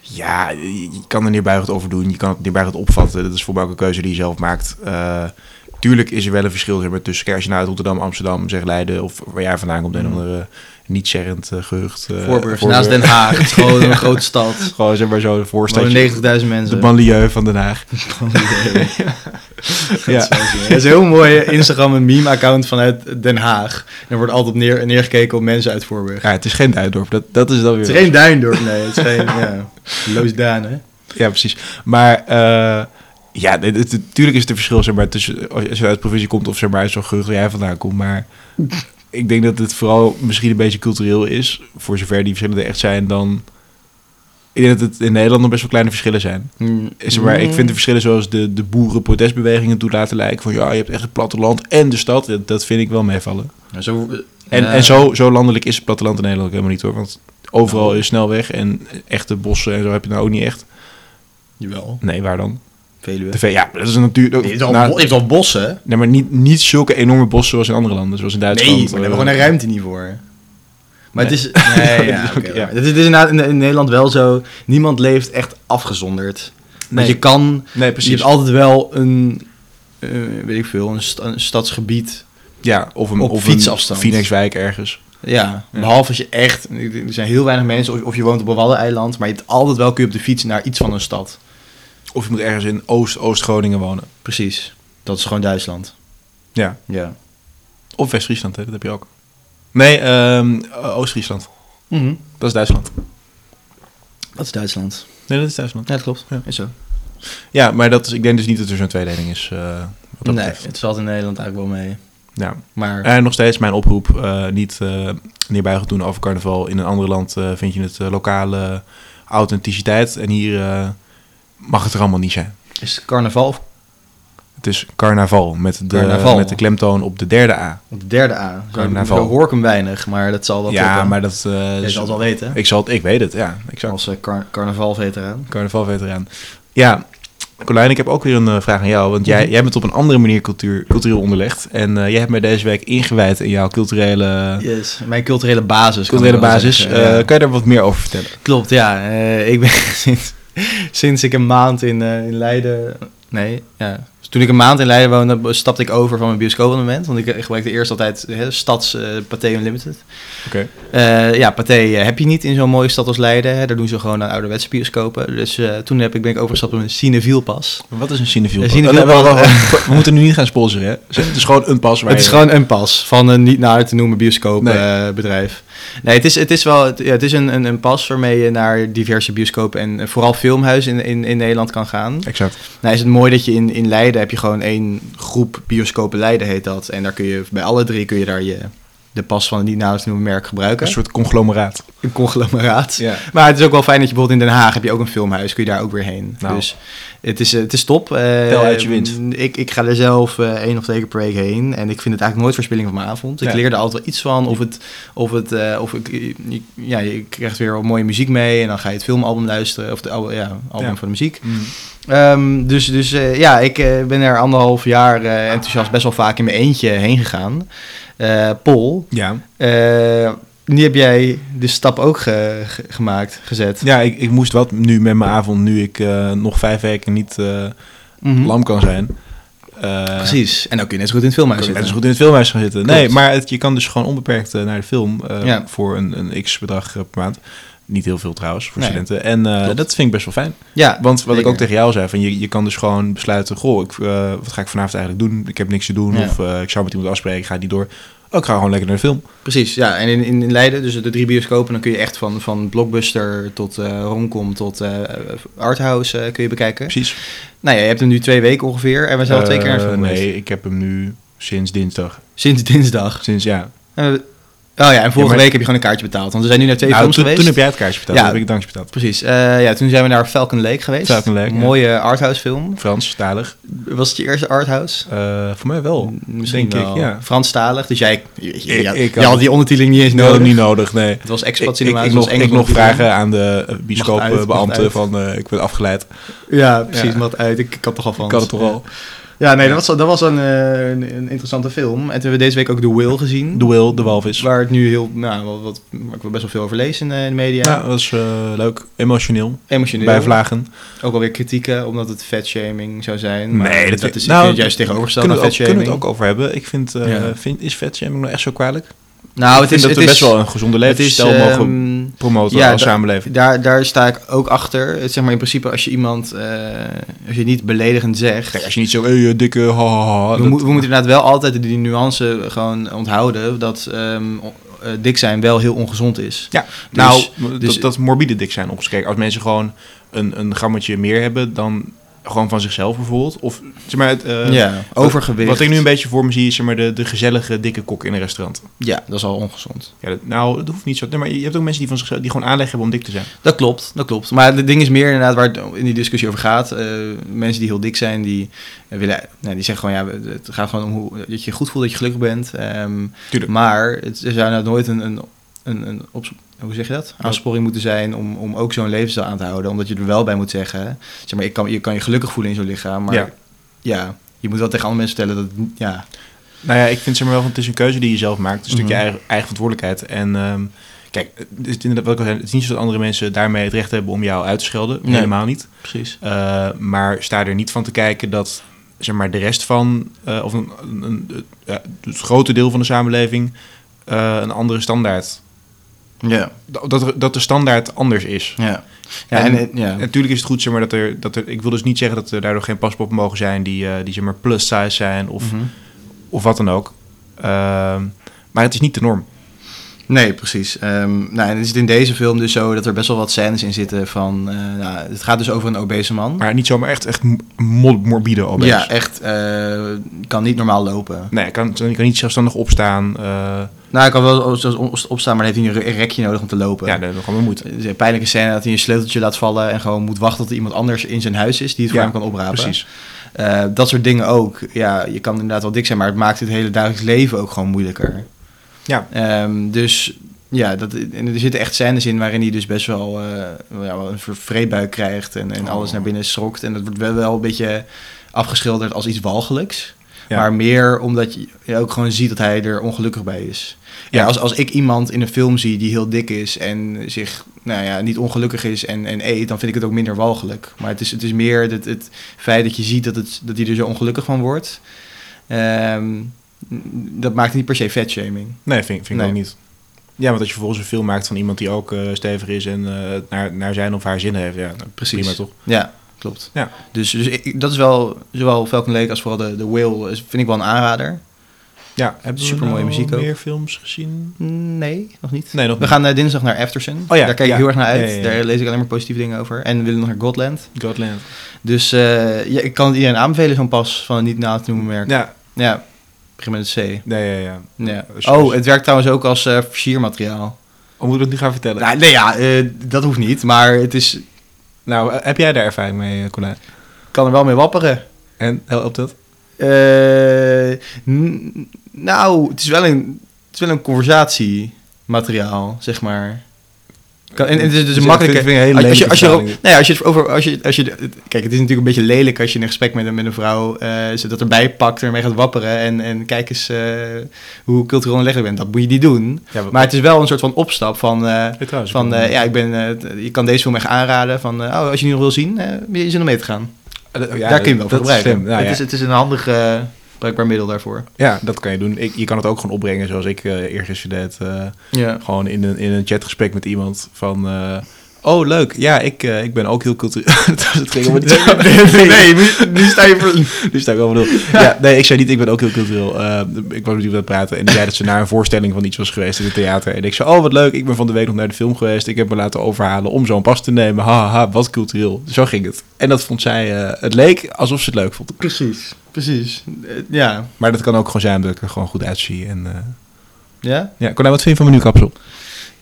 [SPEAKER 2] ja, je je kan er neerbuigend over doen, je kan het neerbuigend opvatten. Dat is voor mij ook een keuze die je zelf maakt. Eh, tuurlijk is er wel een verschil zeg maar, tussen kijk, als je nou uit Rotterdam, Amsterdam, zeg Leiden of waar jij vandaan komt, een of andere niet-zeggend eh, gehucht. eh,
[SPEAKER 1] Mm. Voorburg, naast Den Haag. Het is gewoon een grote stad.
[SPEAKER 2] Gewoon zeg maar zo'n
[SPEAKER 1] Er wonen
[SPEAKER 2] voorstadje.
[SPEAKER 1] 90.000
[SPEAKER 2] De
[SPEAKER 1] mensen.
[SPEAKER 2] banlieue van Den
[SPEAKER 1] (laughs)
[SPEAKER 2] Haag. (laughs)
[SPEAKER 1] ja. (laughs) Dat is een heel mooi Instagram en meme-account vanuit Den Haag. En er wordt altijd op neer, neergekeken op mensen uit Voorburg.
[SPEAKER 2] Ja, het is geen Duidorp, dat, dat is dan weer...
[SPEAKER 1] Het is geen Duindorp, nee. (laughs) Het is geen ja, Loosdaan, hè?
[SPEAKER 2] Ja, precies. Maar eh, ja, dit- dit- natuurlijk is het een verschil zeg maar, tussen als je als je uit de provincie komt of zeg maar, uit zo'n gehucht waar jij vandaan komt. Maar ik denk dat het vooral misschien een beetje cultureel is, voor zover die verschillen er echt zijn, dan... Ik denk dat het in Nederland nog best wel kleine verschillen zijn.
[SPEAKER 1] Mm,
[SPEAKER 2] Is er maar, ik vind de verschillen zoals de, de boerenprotestbewegingen toe laten lijken. Van ja, je hebt echt het platteland en de stad. Dat- Dat vind ik wel meevallen.
[SPEAKER 1] Nou, Zo,
[SPEAKER 2] En,
[SPEAKER 1] ja.
[SPEAKER 2] en zo, zo landelijk is het platteland in Nederland ook helemaal niet hoor. Want overal is snelweg en echte bossen en zo heb je nou ook niet echt.
[SPEAKER 1] Jawel,
[SPEAKER 2] Nee, waar dan?
[SPEAKER 1] Veluwe.
[SPEAKER 2] De ve- ja, dat is een natuur.
[SPEAKER 1] Je hebt al,
[SPEAKER 2] nou,
[SPEAKER 1] bo- je hebt al bossen.
[SPEAKER 2] nee, maar niet, niet zulke enorme bossen zoals in andere landen, zoals in
[SPEAKER 1] Nee, maar
[SPEAKER 2] Duitsland. eh,
[SPEAKER 1] daar hebben we gewoon een ruimte niet voor. Maar het is...
[SPEAKER 2] Dat
[SPEAKER 1] (laughs) Nee, ja,
[SPEAKER 2] is
[SPEAKER 1] oké,
[SPEAKER 2] ook- ja.
[SPEAKER 1] maar Het, is, het is inderdaad in, in Nederland wel zo. Niemand leeft echt afgezonderd.
[SPEAKER 2] Nee.
[SPEAKER 1] Want je kan...
[SPEAKER 2] Nee,
[SPEAKER 1] Je
[SPEAKER 2] precies.
[SPEAKER 1] hebt altijd wel een... eh, weet ik veel, een, sta- een stadsgebied.
[SPEAKER 2] ja, of een,
[SPEAKER 1] op
[SPEAKER 2] of
[SPEAKER 1] fietsafstand.
[SPEAKER 2] een Phoenixwijk ergens.
[SPEAKER 1] Ja,
[SPEAKER 2] Ja.
[SPEAKER 1] behalve als je echt... Er zijn heel weinig mensen, of, of je woont op een waddeneiland... maar je hebt altijd wel kun je op de fiets naar iets van een stad.
[SPEAKER 2] Of je moet ergens in Oost- Oost-Groningen wonen.
[SPEAKER 1] Precies. Dat is gewoon Duitsland.
[SPEAKER 2] Ja.
[SPEAKER 1] Ja.
[SPEAKER 2] Of West-Friesland, hè, dat heb je ook. Nee, ehm, Oost-Friesland. Dat is Duitsland.
[SPEAKER 1] Mhm. Dat is Duitsland.
[SPEAKER 2] Nee, dat is Duitsland.
[SPEAKER 1] Ja, dat klopt.
[SPEAKER 2] Ja.
[SPEAKER 1] Is zo.
[SPEAKER 2] Ja, maar dat is, ik denk dus niet dat er zo'n tweedeling is. eh, wat dat
[SPEAKER 1] nee,
[SPEAKER 2] betreft.
[SPEAKER 1] het valt in Nederland eigenlijk wel mee.
[SPEAKER 2] Ja.
[SPEAKER 1] Maar
[SPEAKER 2] En nog steeds mijn oproep, eh, niet eh neerbuigend doen over carnaval. In een ander land eh, vind je het eh, lokale authenticiteit. En hier eh, mag het er allemaal niet zijn.
[SPEAKER 1] is het carnaval of
[SPEAKER 2] Het is carnaval met de,
[SPEAKER 1] Carnaval.
[SPEAKER 2] Met de klemtoon op de derde A.
[SPEAKER 1] op de derde A? Zo,
[SPEAKER 2] Carnaval.
[SPEAKER 1] zo hoor ik hem weinig, maar dat zal wel
[SPEAKER 2] ja,
[SPEAKER 1] kloppen.
[SPEAKER 2] maar dat... eh,
[SPEAKER 1] Je
[SPEAKER 2] dus-
[SPEAKER 1] zal het wel weten.
[SPEAKER 2] Ik, zal het, ik weet het, ja. Exact.
[SPEAKER 1] Als eh, car carnavalveteraan.
[SPEAKER 2] Carnavalveteraan. Ja, Colijn, ik heb ook weer een eh, vraag aan jou. Want
[SPEAKER 1] Mhm.
[SPEAKER 2] jij, jij bent op een andere manier cultuur, cultureel onderlegd. En eh, jij hebt mij deze week ingewijd in jouw culturele,
[SPEAKER 1] Yes, mijn culturele basis. kan
[SPEAKER 2] culturele
[SPEAKER 1] ik wel
[SPEAKER 2] basis.
[SPEAKER 1] zeggen, ja.
[SPEAKER 2] Eh, Kan je daar wat meer over vertellen?
[SPEAKER 1] Klopt, ja. Eh, ik ben (laughs) sinds, sinds ik een maand in, eh, in Leiden. Nee, ja. Dus toen ik een maand in Leiden woonde, be- stapte ik over van mijn bioscoopabonnement. Want ik eh, gebruikte eerst altijd hè, Stads eh Pathé Unlimited.
[SPEAKER 2] Oké.
[SPEAKER 1] Eh, ja, Pathé eh, heb je niet in zo'n mooie stad als Leiden. Hè. Daar doen ze gewoon aan ouderwetse bioscopen. Dus eh, toen heb ik, ben ik overgestapt op een Cineviel pas.
[SPEAKER 2] Wat is een cinefiel?
[SPEAKER 1] Een
[SPEAKER 2] pas?
[SPEAKER 1] cinefiel
[SPEAKER 2] Oh, nee,
[SPEAKER 1] pas,
[SPEAKER 2] wacht, wacht, wacht. We moeten nu niet gaan sponsoren, hè? Het is gewoon een pas waar
[SPEAKER 1] Het is
[SPEAKER 2] je-
[SPEAKER 1] gewoon een pas van een niet naar te noemen
[SPEAKER 2] Nee.
[SPEAKER 1] bioscoopbedrijf. Nee. bedrijf. nee, het is, het is wel het, ja, het is een, een, een pas waarmee je naar diverse bioscopen en eh, vooral filmhuizen in, in, in Nederland kan gaan.
[SPEAKER 2] Exact.
[SPEAKER 1] Nou is het mooi dat je in, in Leiden heb je gewoon één groep bioscopen Leiden heet dat. En daar kun je bij alle drie kun je daar je, de pas van het niet nauwelijks noemen merk gebruiken.
[SPEAKER 2] Een soort conglomeraat.
[SPEAKER 1] Een conglomeraat.
[SPEAKER 2] Ja.
[SPEAKER 1] Maar het is ook wel fijn dat je bijvoorbeeld in Den Haag heb je ook een filmhuis, kun je daar ook weer heen.
[SPEAKER 2] Nou.
[SPEAKER 1] Dus het is, eh, het is top. Eh,
[SPEAKER 2] Tel uit je winst.
[SPEAKER 1] Ik, ik ga er zelf eh, één of twee keer per week heen. En ik vind het eigenlijk nooit verspilling van mijn avond. Ik
[SPEAKER 2] Ja.
[SPEAKER 1] leer er altijd wel iets van. Of, het, of, het, eh, of ik, ik- ja, je krijgt weer wat mooie muziek mee. En dan ga je het filmalbum luisteren. Of de oude, ja, album
[SPEAKER 2] Ja.
[SPEAKER 1] van de muziek.
[SPEAKER 2] Mm.
[SPEAKER 1] Ehm, dus dus eh, ja, ik eh, ben er anderhalf jaar eh, enthousiast best wel vaak in mijn eentje heen gegaan. Eh Pol,
[SPEAKER 2] Ja.
[SPEAKER 1] eh, nu heb jij de stap ook ge- ge- gemaakt, gezet.
[SPEAKER 2] Ja, ik, ik moest wat nu met mijn avond, nu ik eh, nog vijf weken niet eh,
[SPEAKER 1] Mhm.
[SPEAKER 2] lam kan zijn. Eh,
[SPEAKER 1] Precies, en dan kun je net zo goed in het filmhuis
[SPEAKER 2] Kan je net
[SPEAKER 1] zitten.
[SPEAKER 2] zo goed in het filmhuis gaan zitten.
[SPEAKER 1] Klopt.
[SPEAKER 2] Nee, maar het, je kan dus gewoon onbeperkt eh, naar de film eh,
[SPEAKER 1] Ja.
[SPEAKER 2] voor een, een x-bedrag per maand. Niet heel veel trouwens, voor
[SPEAKER 1] Nee.
[SPEAKER 2] studenten. En eh,
[SPEAKER 1] Klopt.
[SPEAKER 2] dat vind ik best wel fijn.
[SPEAKER 1] Ja,
[SPEAKER 2] Want wat ik
[SPEAKER 1] zeker.
[SPEAKER 2] ook tegen jou zei, van je, je kan dus gewoon besluiten... Goh, ik, eh, wat ga ik vanavond eigenlijk doen? Ik heb niks te doen.
[SPEAKER 1] Ja.
[SPEAKER 2] Of eh, ik zou met iemand afspreken, ik ga die door. Oh, ik ga gewoon lekker naar de film.
[SPEAKER 1] precies. Ja, en in, in in Leiden, dus de drie bioscopen, dan kun je echt van, van blockbuster tot eh romcom tot eh arthouse eh, kun je bekijken.
[SPEAKER 2] Precies.
[SPEAKER 1] Nou ja, je hebt hem nu twee weken ongeveer en we zijn al twee keer naar de
[SPEAKER 2] Eh,
[SPEAKER 1] film geweest.
[SPEAKER 2] Nee, ik heb hem nu sinds dinsdag.
[SPEAKER 1] Sinds dinsdag.
[SPEAKER 2] Sinds, ja.
[SPEAKER 1] En we- Oh ja, en vorige week heb je gewoon een kaartje betaald. Want we zijn nu naar twee
[SPEAKER 2] Nou,
[SPEAKER 1] films
[SPEAKER 2] toen,
[SPEAKER 1] geweest.
[SPEAKER 2] toen heb jij het kaartje betaald,
[SPEAKER 1] Ja.
[SPEAKER 2] heb ik het dankje betaald.
[SPEAKER 1] Precies. Eh, ja, toen zijn we naar Falcon Lake geweest.
[SPEAKER 2] Falcon Lake, ja.
[SPEAKER 1] Mooie arthouse film.
[SPEAKER 2] Franstalig.
[SPEAKER 1] Was het je eerste arthouse?
[SPEAKER 2] Eh voor mij wel.
[SPEAKER 1] M- Misschien
[SPEAKER 2] denk
[SPEAKER 1] wel.
[SPEAKER 2] ik, ja.
[SPEAKER 1] Franstalig. Dus jij je, je-
[SPEAKER 2] Ik-
[SPEAKER 1] je-
[SPEAKER 2] ik
[SPEAKER 1] je
[SPEAKER 2] had-
[SPEAKER 1] had die ondertiteling niet eens
[SPEAKER 2] Nee,
[SPEAKER 1] nodig.
[SPEAKER 2] niet nodig, nee.
[SPEAKER 1] Het was
[SPEAKER 2] Ik,
[SPEAKER 1] expat
[SPEAKER 2] ik,
[SPEAKER 1] cinema.
[SPEAKER 2] ik
[SPEAKER 1] dus
[SPEAKER 2] nog,
[SPEAKER 1] het was
[SPEAKER 2] ik
[SPEAKER 1] Engels
[SPEAKER 2] nog vragen aan de eh,
[SPEAKER 1] uit, mag
[SPEAKER 2] bioscoopbeambte
[SPEAKER 1] uit.
[SPEAKER 2] van eh, ik ben afgeleid.
[SPEAKER 1] Ja, precies.
[SPEAKER 2] Ja.
[SPEAKER 1] Wat uit. Ik kan toch al van.
[SPEAKER 2] Ik had het toch al.
[SPEAKER 1] Ja, nee, dat was, dat was een, eh, een, een interessante film. En toen hebben we deze week ook The Will gezien.
[SPEAKER 2] De Will, de walvis.
[SPEAKER 1] Waar het nu heel, nou, wat, wat, waar ik wel best wel veel over lees in, eh, de media.
[SPEAKER 2] Ja, dat was eh, leuk. Emotioneel.
[SPEAKER 1] Emotioneel.
[SPEAKER 2] Bij vlagen.
[SPEAKER 1] Ook alweer kritieken, omdat het fatshaming zou zijn. Maar
[SPEAKER 2] Nee, dat
[SPEAKER 1] dat,
[SPEAKER 2] vind-
[SPEAKER 1] is ik
[SPEAKER 2] nou,
[SPEAKER 1] vind het juist tegenovergesteld
[SPEAKER 2] Kunnen
[SPEAKER 1] aan
[SPEAKER 2] we, het ook, kunnen
[SPEAKER 1] fatshaming.
[SPEAKER 2] we het ook over hebben. Ik vind, eh,
[SPEAKER 1] Ja.
[SPEAKER 2] vind is vetshaming nou echt zo kwalijk?
[SPEAKER 1] Nou, het is,
[SPEAKER 2] ik vind dat
[SPEAKER 1] het
[SPEAKER 2] we
[SPEAKER 1] is
[SPEAKER 2] best wel een gezonde levensstijl
[SPEAKER 1] het is,
[SPEAKER 2] mogen
[SPEAKER 1] ehm,
[SPEAKER 2] promoten
[SPEAKER 1] ja,
[SPEAKER 2] als
[SPEAKER 1] da-
[SPEAKER 2] samenleving.
[SPEAKER 1] Daar, daar sta ik ook achter. Het, zeg maar in principe, als je iemand, eh, als je niet beledigend zegt.
[SPEAKER 2] Kijk, als je niet zo, hey, eh, dikke, ha, ha, ha.
[SPEAKER 1] we,
[SPEAKER 2] dat-
[SPEAKER 1] mo- we moeten inderdaad wel altijd die nuance gewoon onthouden. Dat ehm, o- eh, dik zijn wel heel ongezond is.
[SPEAKER 2] Ja, (laughs) nou,
[SPEAKER 1] Dus-
[SPEAKER 2] dat,
[SPEAKER 1] dus-
[SPEAKER 2] dat morbide dik zijn opgekeken. Als mensen gewoon een, een grammetje meer hebben dan gewoon van zichzelf bijvoorbeeld. Of zeg maar, het, eh,
[SPEAKER 1] ja,
[SPEAKER 2] wat-
[SPEAKER 1] Ehm, overgewicht.
[SPEAKER 2] Wat ik nu een beetje voor me zie is zeg maar, de, de gezellige dikke kok in een restaurant.
[SPEAKER 1] Ja, dat is al ongezond.
[SPEAKER 2] Ja, dat- nou, dat hoeft niet zo. Nee, maar je hebt ook mensen die, van zichzelf, die gewoon aanleg hebben om dik te zijn.
[SPEAKER 1] Dat klopt, dat klopt. Maar het ding is meer inderdaad waar het in die discussie over gaat. Eh, mensen die heel dik zijn, die, eh, willen, nou, die zeggen gewoon... Ja, het gaat gewoon om hoe, dat je je goed voelt, dat je gelukkig bent. Ehm,
[SPEAKER 2] Tuurlijk.
[SPEAKER 1] Maar het er zou nou nooit een, een, een, een ops- hoe zeg je dat? aansporing moeten zijn om, om ook zo'n levensstijl aan te houden. Omdat je er wel bij moet zeggen, zeg maar, ik kan, je kan je gelukkig voelen in zo'n lichaam. Maar
[SPEAKER 2] Ja.
[SPEAKER 1] ja. je moet wel tegen andere mensen vertellen dat het niet- ja,
[SPEAKER 2] Nou ja, ik vind zeg maar wel van het is een keuze die je zelf maakt. Een stukje
[SPEAKER 1] Mhm.
[SPEAKER 2] eigen, eigen verantwoordelijkheid. En ehm, kijk, het is, inderdaad, wat ik al zei, het is niet zo dat andere mensen daarmee het recht hebben om jou uit te schelden.
[SPEAKER 1] Nee.
[SPEAKER 2] Helemaal niet.
[SPEAKER 1] precies.
[SPEAKER 2] Eh, maar sta er niet van te kijken dat zeg maar, de rest van, eh, of een, een, een- ja, het grote deel van de samenleving, eh, een andere standaard.
[SPEAKER 1] Ja,
[SPEAKER 2] Dat- Dat, er- dat de standaard anders is.
[SPEAKER 1] ja. Ja, en,
[SPEAKER 2] En-
[SPEAKER 1] ja.
[SPEAKER 2] Natuurlijk is het goed, zeg maar, dat er, dat er. Ik wil dus niet zeggen dat er daardoor geen paspoppen mogen zijn die, eh, die zeg maar, plus size zijn of,
[SPEAKER 1] Mhm.
[SPEAKER 2] of wat dan ook. Ehm, maar het is niet de norm.
[SPEAKER 1] Nee, precies. Ehm nou, en het is in deze film dus zo dat er best wel wat scènes in zitten van... eh, nou, het gaat dus over een obese man.
[SPEAKER 2] Maar niet zomaar echt, echt mo- morbide obese.
[SPEAKER 1] Ja, echt. eh, kan niet normaal lopen.
[SPEAKER 2] Nee, ik kan, ik kan niet zelfstandig opstaan. eh
[SPEAKER 1] Nou, hij kan wel zelfs opstaan, maar dan heeft hij een rekje nodig om te lopen.
[SPEAKER 2] ja, dat is gewoon mijn moeite.
[SPEAKER 1] Het is een pijnlijke scène dat hij een sleuteltje laat vallen en gewoon moet wachten tot er iemand anders in zijn huis is die het
[SPEAKER 2] Ja,
[SPEAKER 1] voor hem kan oprapen.
[SPEAKER 2] Precies.
[SPEAKER 1] Eh, dat soort dingen ook. Ja, je kan inderdaad wel dik zijn, maar het maakt het hele dagelijks leven ook gewoon moeilijker.
[SPEAKER 2] Ja.
[SPEAKER 1] Ehm, dus ja, dat, en er zitten echt scènes in waarin hij dus best wel, eh, ja, wel een ver- vreedbuik krijgt en, en
[SPEAKER 2] Oh.
[SPEAKER 1] alles naar binnen schrokt. En dat wordt wel, wel een beetje afgeschilderd als iets walgelijks.
[SPEAKER 2] Ja.
[SPEAKER 1] Maar meer omdat je- je ook gewoon ziet dat hij er ongelukkig bij is. Ja,
[SPEAKER 2] Ja.
[SPEAKER 1] als, als ik iemand in een film zie die heel dik is en zich nou ja, niet ongelukkig is en, en eet, dan vind ik het ook minder walgelijk. Maar het is, het is meer het, het feit dat je ziet dat, het, dat hij er zo ongelukkig van wordt. Ehm, dat maakt niet per se fatshaming.
[SPEAKER 2] Nee, vind, vind ik
[SPEAKER 1] Nee.
[SPEAKER 2] ook niet. Ja, want als je vervolgens een film maakt van iemand die ook eh, stevig is en eh, het naar, naar zijn of haar zin heeft, ja, nou,
[SPEAKER 1] Precies.
[SPEAKER 2] prima toch?
[SPEAKER 1] Ja, klopt.
[SPEAKER 2] Ja.
[SPEAKER 1] Dus, dus ik- ik- dat is wel, zowel Falcon Lake als vooral de, de Whale is, vind ik wel een aanrader.
[SPEAKER 2] Ja, hebben we
[SPEAKER 1] Supermooie
[SPEAKER 2] nou
[SPEAKER 1] muziek ook.
[SPEAKER 2] meer films gezien?
[SPEAKER 1] Nee, nog niet.
[SPEAKER 2] Nee, nog
[SPEAKER 1] We
[SPEAKER 2] niet.
[SPEAKER 1] gaan eh, dinsdag naar Efterson.
[SPEAKER 2] Oh ja,
[SPEAKER 1] Daar kijk
[SPEAKER 2] ja.
[SPEAKER 1] ik heel erg naar uit.
[SPEAKER 2] Ja, ja, ja.
[SPEAKER 1] Daar lees ik alleen maar positieve dingen over. En we willen nog naar Godland.
[SPEAKER 2] Godland.
[SPEAKER 1] Dus eh, ja, ik kan het iedereen aanbevelen, zo'n pas van een niet na te noemen merk. Ja,
[SPEAKER 2] Ja,
[SPEAKER 1] begin met het C.
[SPEAKER 2] nee, ja, ja.
[SPEAKER 1] Ja.
[SPEAKER 2] Als je-
[SPEAKER 1] Oh, het werkt trouwens ook als eh versiermateriaal.
[SPEAKER 2] Oh, moet ik dat nu gaan vertellen?
[SPEAKER 1] Nou, nee, ja, eh, dat hoeft niet, maar het is,
[SPEAKER 2] Nou, eh, heb jij daar ervaring mee, eh, Colijn?
[SPEAKER 1] kan er wel mee wapperen.
[SPEAKER 2] En helpt dat?
[SPEAKER 1] Eh, n- nou, het is wel een, het is wel een conversatiemateriaal, zeg maar. Kan, en, en het is dus
[SPEAKER 2] Dus
[SPEAKER 1] een
[SPEAKER 2] ik vind-
[SPEAKER 1] makkelijke...
[SPEAKER 2] vind ik een hele
[SPEAKER 1] als, als je, als je,
[SPEAKER 2] lelijke
[SPEAKER 1] erop- nee, als je het over... Als je, als je, kijk, het is natuurlijk een beetje lelijk als je een gesprek met, een- met een vrouw... eh ze dat erbij pakt en ermee gaat wapperen. En, en kijk eens eh, hoe cultureel en lekker je bent. Dat moet je niet doen.
[SPEAKER 2] Ja, maar,
[SPEAKER 1] Maar het is wel een soort van opstap van... eh,
[SPEAKER 2] Hey, trouwens,
[SPEAKER 1] van,
[SPEAKER 2] ik-
[SPEAKER 1] eh, ja, ik ben, eh, t- je kan deze film echt aanraden. Van, eh, oh, als je die nog wil zien, eh, heb je zin om mee te gaan.
[SPEAKER 2] Eh, dat- ja,
[SPEAKER 1] Daar kun je hem wel voor
[SPEAKER 2] dat- dat
[SPEAKER 1] gebruiken.
[SPEAKER 2] is slim. Nou,
[SPEAKER 1] het,
[SPEAKER 2] ja.
[SPEAKER 1] is, het is een handig eh, bruikbaar middel daarvoor.
[SPEAKER 2] Ja, dat kan je doen. Ik, je kan het ook gewoon opbrengen zoals ik eh eergisteren deed. eh,
[SPEAKER 1] Ja.
[SPEAKER 2] gewoon in een, in een chatgesprek met iemand van... eh, oh, leuk. Ja, ik, eh, ik ben ook heel cultureel. (laughs) dat ging
[SPEAKER 1] (laughs)
[SPEAKER 2] helemaal (laughs) niet zo.
[SPEAKER 1] nee, nu, nu sta je voor...
[SPEAKER 2] (laughs) Dus daar wel bedoel. Ja, nee, ik zei niet, ik ben ook heel cultureel. Eh, ik was met iemand aan het praten en die zei dat ze naar een voorstelling van iets was geweest in het theater. En ik zei, oh wat leuk, ik ben van de week nog naar de film geweest. Ik heb me laten overhalen om zo'n pas te nemen. Ha, ha, ha, wat cultureel. Zo ging het. En dat vond zij, eh, het leek alsof ze het leuk vond.
[SPEAKER 1] Precies, precies. Eh, Ja,
[SPEAKER 2] Maar dat kan ook gewoon zijn dat ik er gewoon goed uitzie. En eh,
[SPEAKER 1] Ja?
[SPEAKER 2] Ja, Cornel, wat vind je van mijn nieuwe kapsel?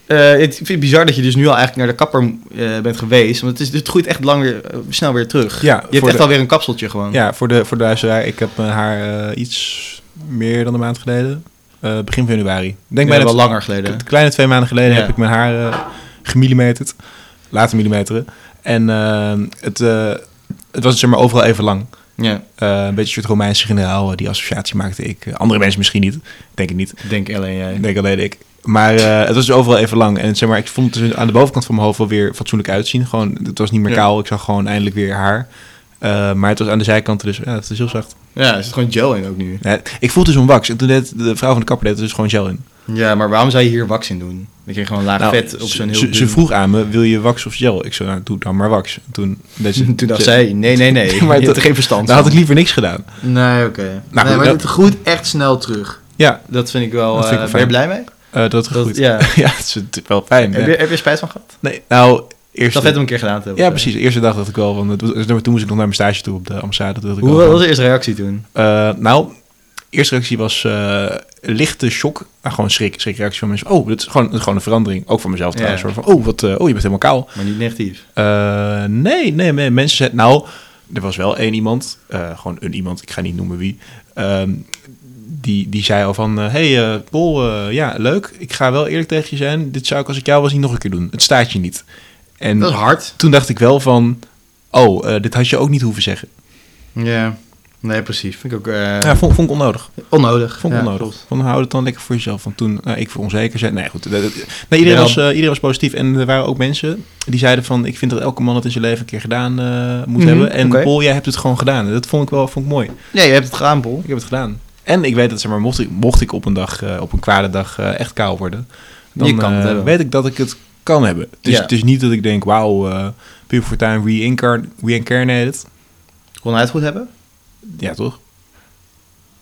[SPEAKER 1] Eh, het, ik vind het bizar dat je dus nu al eigenlijk naar de kapper eh, bent geweest. Want het, is, het groeit echt lang weer, eh, snel weer terug.
[SPEAKER 2] Ja,
[SPEAKER 1] je hebt
[SPEAKER 2] voor
[SPEAKER 1] echt
[SPEAKER 2] de-
[SPEAKER 1] alweer een kapseltje gewoon.
[SPEAKER 2] Ja, voor de, voor de luisteraar, ik heb eh, haar eh, iets meer dan een maand geleden. eh, begin januari. Denk
[SPEAKER 1] Ik
[SPEAKER 2] bijna
[SPEAKER 1] ben wel
[SPEAKER 2] t-
[SPEAKER 1] langer geleden.
[SPEAKER 2] t- kleine twee maanden geleden
[SPEAKER 1] Ja.
[SPEAKER 2] heb ik mijn haar eh, gemillimeterd. Laten millimeteren. En eh, het, eh, het was zeg maar overal even lang.
[SPEAKER 1] Ja,
[SPEAKER 2] Eh, een beetje een soort Romeinse generaal, eh, die associatie maakte ik. Eh, andere mensen misschien niet, denk ik niet.
[SPEAKER 1] denk alleen jij.
[SPEAKER 2] Ik denk alleen ik. Maar eh, het was dus overal even lang. En zeg maar, ik vond het dus aan de bovenkant van mijn hoofd wel weer fatsoenlijk uitzien. Gewoon, het was niet meer
[SPEAKER 1] Ja.
[SPEAKER 2] kaal. Ik zag gewoon eindelijk weer haar. Eh, maar het was aan de zijkanten, dus ja, het is heel zacht.
[SPEAKER 1] Ja, er zit gewoon gel in ook nu.
[SPEAKER 2] Ja, ik voelde zo'n wax. En toen deed de vrouw van de kapper deed er dus gewoon gel in.
[SPEAKER 1] Ja, maar waarom zou je hier wax in doen? Dat je gewoon laag
[SPEAKER 2] Nou,
[SPEAKER 1] vet op
[SPEAKER 2] ze-
[SPEAKER 1] zo'n heel...
[SPEAKER 2] ze, ze
[SPEAKER 1] dun-
[SPEAKER 2] vroeg aan me, wil je wax of gel? Ik zei, nou, doe dan maar wax. En toen, deed
[SPEAKER 1] (laughs)
[SPEAKER 2] ze,
[SPEAKER 1] Toen dacht
[SPEAKER 2] ze- (laughs)
[SPEAKER 1] zij, nee, nee, nee.
[SPEAKER 2] Maar
[SPEAKER 1] je hebt
[SPEAKER 2] dat-
[SPEAKER 1] er geen verstand
[SPEAKER 2] Daar had ik
[SPEAKER 1] van.
[SPEAKER 2] liever niks gedaan.
[SPEAKER 1] Nee, oké.
[SPEAKER 2] Nou,
[SPEAKER 1] nee, maar
[SPEAKER 2] dat-
[SPEAKER 1] het groeit echt snel terug.
[SPEAKER 2] Ja,
[SPEAKER 1] Dat vind ik wel...
[SPEAKER 2] Dat vind ik
[SPEAKER 1] eh,
[SPEAKER 2] wel
[SPEAKER 1] ben je
[SPEAKER 2] fijn.
[SPEAKER 1] blij mee?
[SPEAKER 2] eh, dat
[SPEAKER 1] Dat-
[SPEAKER 2] goed.
[SPEAKER 1] ja.
[SPEAKER 2] (laughs) ja, het is natuurlijk wel fijn.
[SPEAKER 1] Heb,
[SPEAKER 2] ja.
[SPEAKER 1] je, heb je er spijt van gehad?
[SPEAKER 2] Nee, nou, eerst...
[SPEAKER 1] Dat vet om een keer gedaan te hebben.
[SPEAKER 2] Ja, precies. De eerste dag dacht ik wel van... het was- Toen moest ik nog naar mijn stage toe op de ambassade. Toen dacht ik
[SPEAKER 1] Hoe
[SPEAKER 2] wel van-
[SPEAKER 1] was de eerste reactie toen?
[SPEAKER 2] Eh, nou, eerste reactie was eh, lichte shock. maar gewoon schrik. Schrikreactie van mensen. Oh, dat is gewoon, dat is gewoon een verandering. Ook van mezelf
[SPEAKER 1] Ja.
[SPEAKER 2] trouwens. hoor. Van, oh, wat, eh, oh, je bent helemaal kaal.
[SPEAKER 1] Maar niet negatief.
[SPEAKER 2] Eh, nee, nee, nee. Mensen zeiden... Nou, er was wel één iemand. eh, gewoon een iemand. Ik ga niet noemen wie. ehm, die, die zei al van... eh, hey, eh, Paul, eh, ja, leuk. Ik ga wel eerlijk tegen je zijn. Dit zou ik als ik jou was niet nog een keer doen. Het staat je niet. En
[SPEAKER 1] Dat is hard.
[SPEAKER 2] toen dacht ik wel van... Oh, eh, dit had je ook niet hoeven zeggen.
[SPEAKER 1] Ja. Nee, precies. Vind ik ook eh,
[SPEAKER 2] Ja, vond, vond ik onnodig.
[SPEAKER 1] onnodig.
[SPEAKER 2] Vond ik
[SPEAKER 1] Ja,
[SPEAKER 2] onnodig.
[SPEAKER 1] klopt.
[SPEAKER 2] Van hou het dan lekker voor jezelf. Want toen eh, ik voor onzeker zei. Nee, goed. dat- dat- nee, iedereen,
[SPEAKER 1] Ja.
[SPEAKER 2] was, eh, iedereen was positief. En er waren ook mensen die zeiden van... ik vind dat elke man het in zijn leven een keer gedaan eh, moet
[SPEAKER 1] Mhm,
[SPEAKER 2] hebben. En
[SPEAKER 1] oké.
[SPEAKER 2] Paul, jij hebt het gewoon gedaan. En dat vond ik wel vond ik mooi.
[SPEAKER 1] Nee, je hebt het gedaan, Paul.
[SPEAKER 2] Ik heb het gedaan. En ik weet dat, zeg maar, mocht ik, mocht ik op een dag, eh, op een kwade dag eh, echt kaal worden... dan
[SPEAKER 1] Je kan het
[SPEAKER 2] eh,
[SPEAKER 1] hebben.
[SPEAKER 2] weet ik dat ik het kan hebben. Dus
[SPEAKER 1] Ja.
[SPEAKER 2] het is niet dat ik denk, wauw, eh Pim Fortuyn reincarn- reincarnated.
[SPEAKER 1] Kon hij het goed hebben?
[SPEAKER 2] Ja, toch?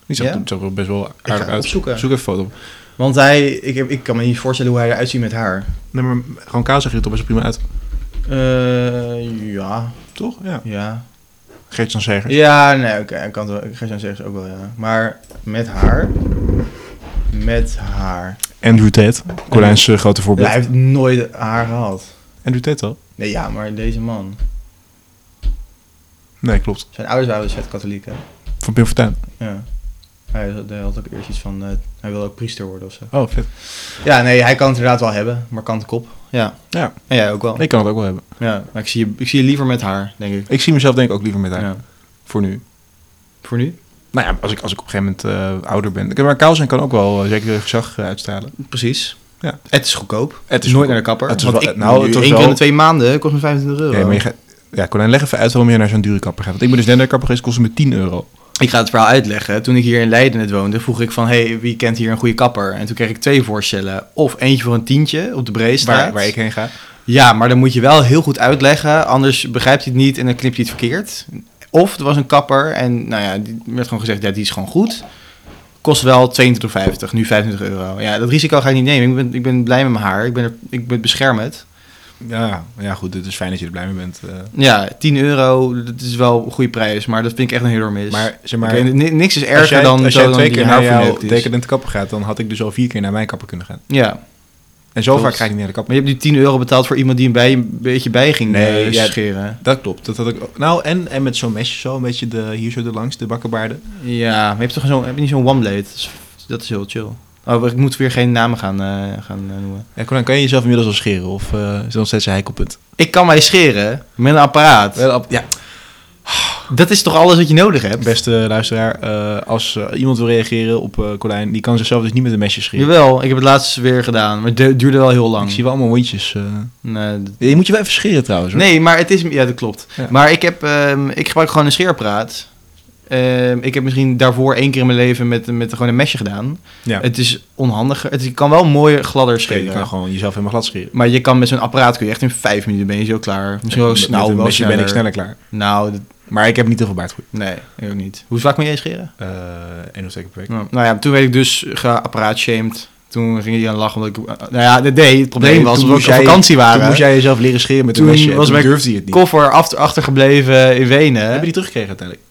[SPEAKER 2] Die
[SPEAKER 1] Ja.
[SPEAKER 2] zag er wel best wel
[SPEAKER 1] ga
[SPEAKER 2] aardig
[SPEAKER 1] het
[SPEAKER 2] uit.
[SPEAKER 1] opzoeken.
[SPEAKER 2] Zoek even een foto op.
[SPEAKER 1] Want hij, ik, heb- ik kan me niet voorstellen hoe hij eruit ziet met haar.
[SPEAKER 2] Nee, maar gewoon kaal zag je er toch best prima uit,
[SPEAKER 1] Eh, ja,
[SPEAKER 2] toch? Ja.
[SPEAKER 1] ja.
[SPEAKER 2] Geert-Jan Segers.
[SPEAKER 1] Ja, nee, oké. ik kan het wel. Gertjan zegt ook wel, ja. Maar met haar. Met haar.
[SPEAKER 2] Andrew Tate, Corijn's eh, grote
[SPEAKER 1] Ja,
[SPEAKER 2] voorbeeld.
[SPEAKER 1] hij heeft nooit haar gehad.
[SPEAKER 2] Andrew Tate al?
[SPEAKER 1] Nee, ja, maar deze man.
[SPEAKER 2] Nee, klopt.
[SPEAKER 1] Zijn ouders waren dus het katholieken.
[SPEAKER 2] Van Pim Fortuyn.
[SPEAKER 1] Ja. Hij had- hij had ook eerst iets van, eh, hij wil ook priester worden of zo.
[SPEAKER 2] Oh, vet.
[SPEAKER 1] Ja, nee, hij kan het inderdaad wel hebben. Maar kant kop. Ja.
[SPEAKER 2] Ja.
[SPEAKER 1] En jij ook wel.
[SPEAKER 2] Ik kan het ook wel hebben.
[SPEAKER 1] Ja, maar ik zie, je, ik zie je liever met haar, denk ik.
[SPEAKER 2] Ik zie mezelf denk ik ook liever met haar.
[SPEAKER 1] Ja.
[SPEAKER 2] Voor nu.
[SPEAKER 1] Voor nu?
[SPEAKER 2] Nou ja, als ik, als ik op een gegeven moment eh, ouder ben. Maar kaal zijn kan ook wel eh, zeker gezag eh, uitstralen.
[SPEAKER 1] Prees.
[SPEAKER 2] Ja.
[SPEAKER 1] Het is goedkoop.
[SPEAKER 2] Het is
[SPEAKER 1] nooit
[SPEAKER 2] goedkoop.
[SPEAKER 1] naar de kapper.
[SPEAKER 2] Het is
[SPEAKER 1] want
[SPEAKER 2] wel-
[SPEAKER 1] ik,
[SPEAKER 2] nou,
[SPEAKER 1] nou,
[SPEAKER 2] het was
[SPEAKER 1] één keer in
[SPEAKER 2] wel-
[SPEAKER 1] de twee maanden kost me 25 euro.
[SPEAKER 2] Ja, maar je gaat... Ja, Corijn, leg even uit waarom je naar zo'n dure kapper gaat. Want ik ben dus net naar de kapper geweest, kostte me 10 euro.
[SPEAKER 1] Ik ga het verhaal uitleggen. Toen ik hier in Leiden net woonde, vroeg ik van... hey, wie kent hier een goede kapper? En toen kreeg ik twee voorstellen. Of eentje voor een tientje op de Breestraat.
[SPEAKER 2] Waar, waar ik heen ga.
[SPEAKER 1] Ja, maar dan moet je wel heel goed uitleggen. Anders begrijpt hij het niet en dan knipt hij het verkeerd. Of er was een kapper en nou ja, die werd gewoon gezegd... ja, die is gewoon goed. Kost wel 22,50, nu 25 euro. Ja, dat risico ga ik niet nemen. Ik ben, ik ben blij met mijn haar. Ik ben, er, ik ben beschermd.
[SPEAKER 2] Ja, ja, goed. Het is fijn dat je er blij mee bent. eh.
[SPEAKER 1] Ja, 10 euro, dat is wel een goede prijs. Maar dat vind ik echt een heel mis.
[SPEAKER 2] maar zeg maar...
[SPEAKER 1] Oké, ni- niks is erger
[SPEAKER 2] als jij,
[SPEAKER 1] dan
[SPEAKER 2] als
[SPEAKER 1] zo
[SPEAKER 2] jij
[SPEAKER 1] dan
[SPEAKER 2] twee
[SPEAKER 1] die
[SPEAKER 2] keer
[SPEAKER 1] haar
[SPEAKER 2] naar jouw
[SPEAKER 1] verneukt is.
[SPEAKER 2] decadente kapper gaat, dan had ik dus al vier keer naar mijn kapper kunnen gaan.
[SPEAKER 1] Ja,
[SPEAKER 2] En zo
[SPEAKER 1] Klopt.
[SPEAKER 2] vaak ga ik niet naar de kapper.
[SPEAKER 1] Maar je hebt die 10 euro betaald voor iemand die een, bij, een beetje bij ging
[SPEAKER 2] Nee,
[SPEAKER 1] eh,
[SPEAKER 2] ja.
[SPEAKER 1] scheren.
[SPEAKER 2] Dat klopt. Dat had ik ook. Nou, en, en met zo'n mesje zo, een beetje de, hier zo de langs, de bakkenbaarden.
[SPEAKER 1] Ja, maar je hebt toch zo'n, heb je niet zo'n one blade? Dat is, dat is heel chill. Oh, ik moet weer geen namen gaan, eh, gaan eh, noemen.
[SPEAKER 2] Ja, Conan, kan je jezelf inmiddels al scheren? Of eh, is dat nog steeds een heikelpunt?
[SPEAKER 1] Ik kan mij scheren met een apparaat.
[SPEAKER 2] Ja,
[SPEAKER 1] Dat is toch alles wat je nodig hebt?
[SPEAKER 2] beste luisteraar, eh, als eh, iemand wil reageren op eh Colijn, die kan zichzelf dus niet met een mesje scheren.
[SPEAKER 1] Jawel, ik heb het laatst weer gedaan, maar het du- duurde wel heel
[SPEAKER 2] Ik zie
[SPEAKER 1] lang.
[SPEAKER 2] wel allemaal wondjes. eh.
[SPEAKER 1] Nee, dat-
[SPEAKER 2] Je moet je wel even scheren trouwens. Hoor.
[SPEAKER 1] nee, maar het is... Ja, dat klopt.
[SPEAKER 2] Ja.
[SPEAKER 1] Maar ik, heb, ehm, ik gebruik gewoon een scheerapparaat. Ehm, ik heb misschien daarvoor één keer in mijn leven met, met gewoon een mesje gedaan.
[SPEAKER 2] Ja.
[SPEAKER 1] Het is onhandiger. Het kan wel mooier, gladder
[SPEAKER 2] Nee, je
[SPEAKER 1] scheren.
[SPEAKER 2] kan gewoon jezelf helemaal glad scheren.
[SPEAKER 1] Maar je kan met zo'n apparaat kun je echt in vijf minuten ben je zo klaar. Misschien wel,
[SPEAKER 2] Met-
[SPEAKER 1] nou,
[SPEAKER 2] met een
[SPEAKER 1] wel
[SPEAKER 2] mesje
[SPEAKER 1] sneller.
[SPEAKER 2] ben ik sneller klaar.
[SPEAKER 1] Nou, dat-
[SPEAKER 2] Maar ik heb niet heel veel baard goed.
[SPEAKER 1] nee, ik ook niet. Hoe vaak moet jij scheren?
[SPEAKER 2] Eén of twee keer per week.
[SPEAKER 1] Nou, ja, toen werd ik dus geapparaatshamed. Toen ging iedereen lachen omdat ik... Nou ja, dat deed. Het probleem
[SPEAKER 2] Nee,
[SPEAKER 1] was,
[SPEAKER 2] toen
[SPEAKER 1] omdat
[SPEAKER 2] moest
[SPEAKER 1] we op
[SPEAKER 2] jij-
[SPEAKER 1] vakantie waren.
[SPEAKER 2] Toen moest jij jezelf leren scheren met een
[SPEAKER 1] Toen
[SPEAKER 2] mesje. en
[SPEAKER 1] was
[SPEAKER 2] toen
[SPEAKER 1] mijn
[SPEAKER 2] durfde je het niet.
[SPEAKER 1] Koffer acht- achtergebleven in
[SPEAKER 2] Heb
[SPEAKER 1] Wenen.
[SPEAKER 2] je die teruggekregen uiteindelijk?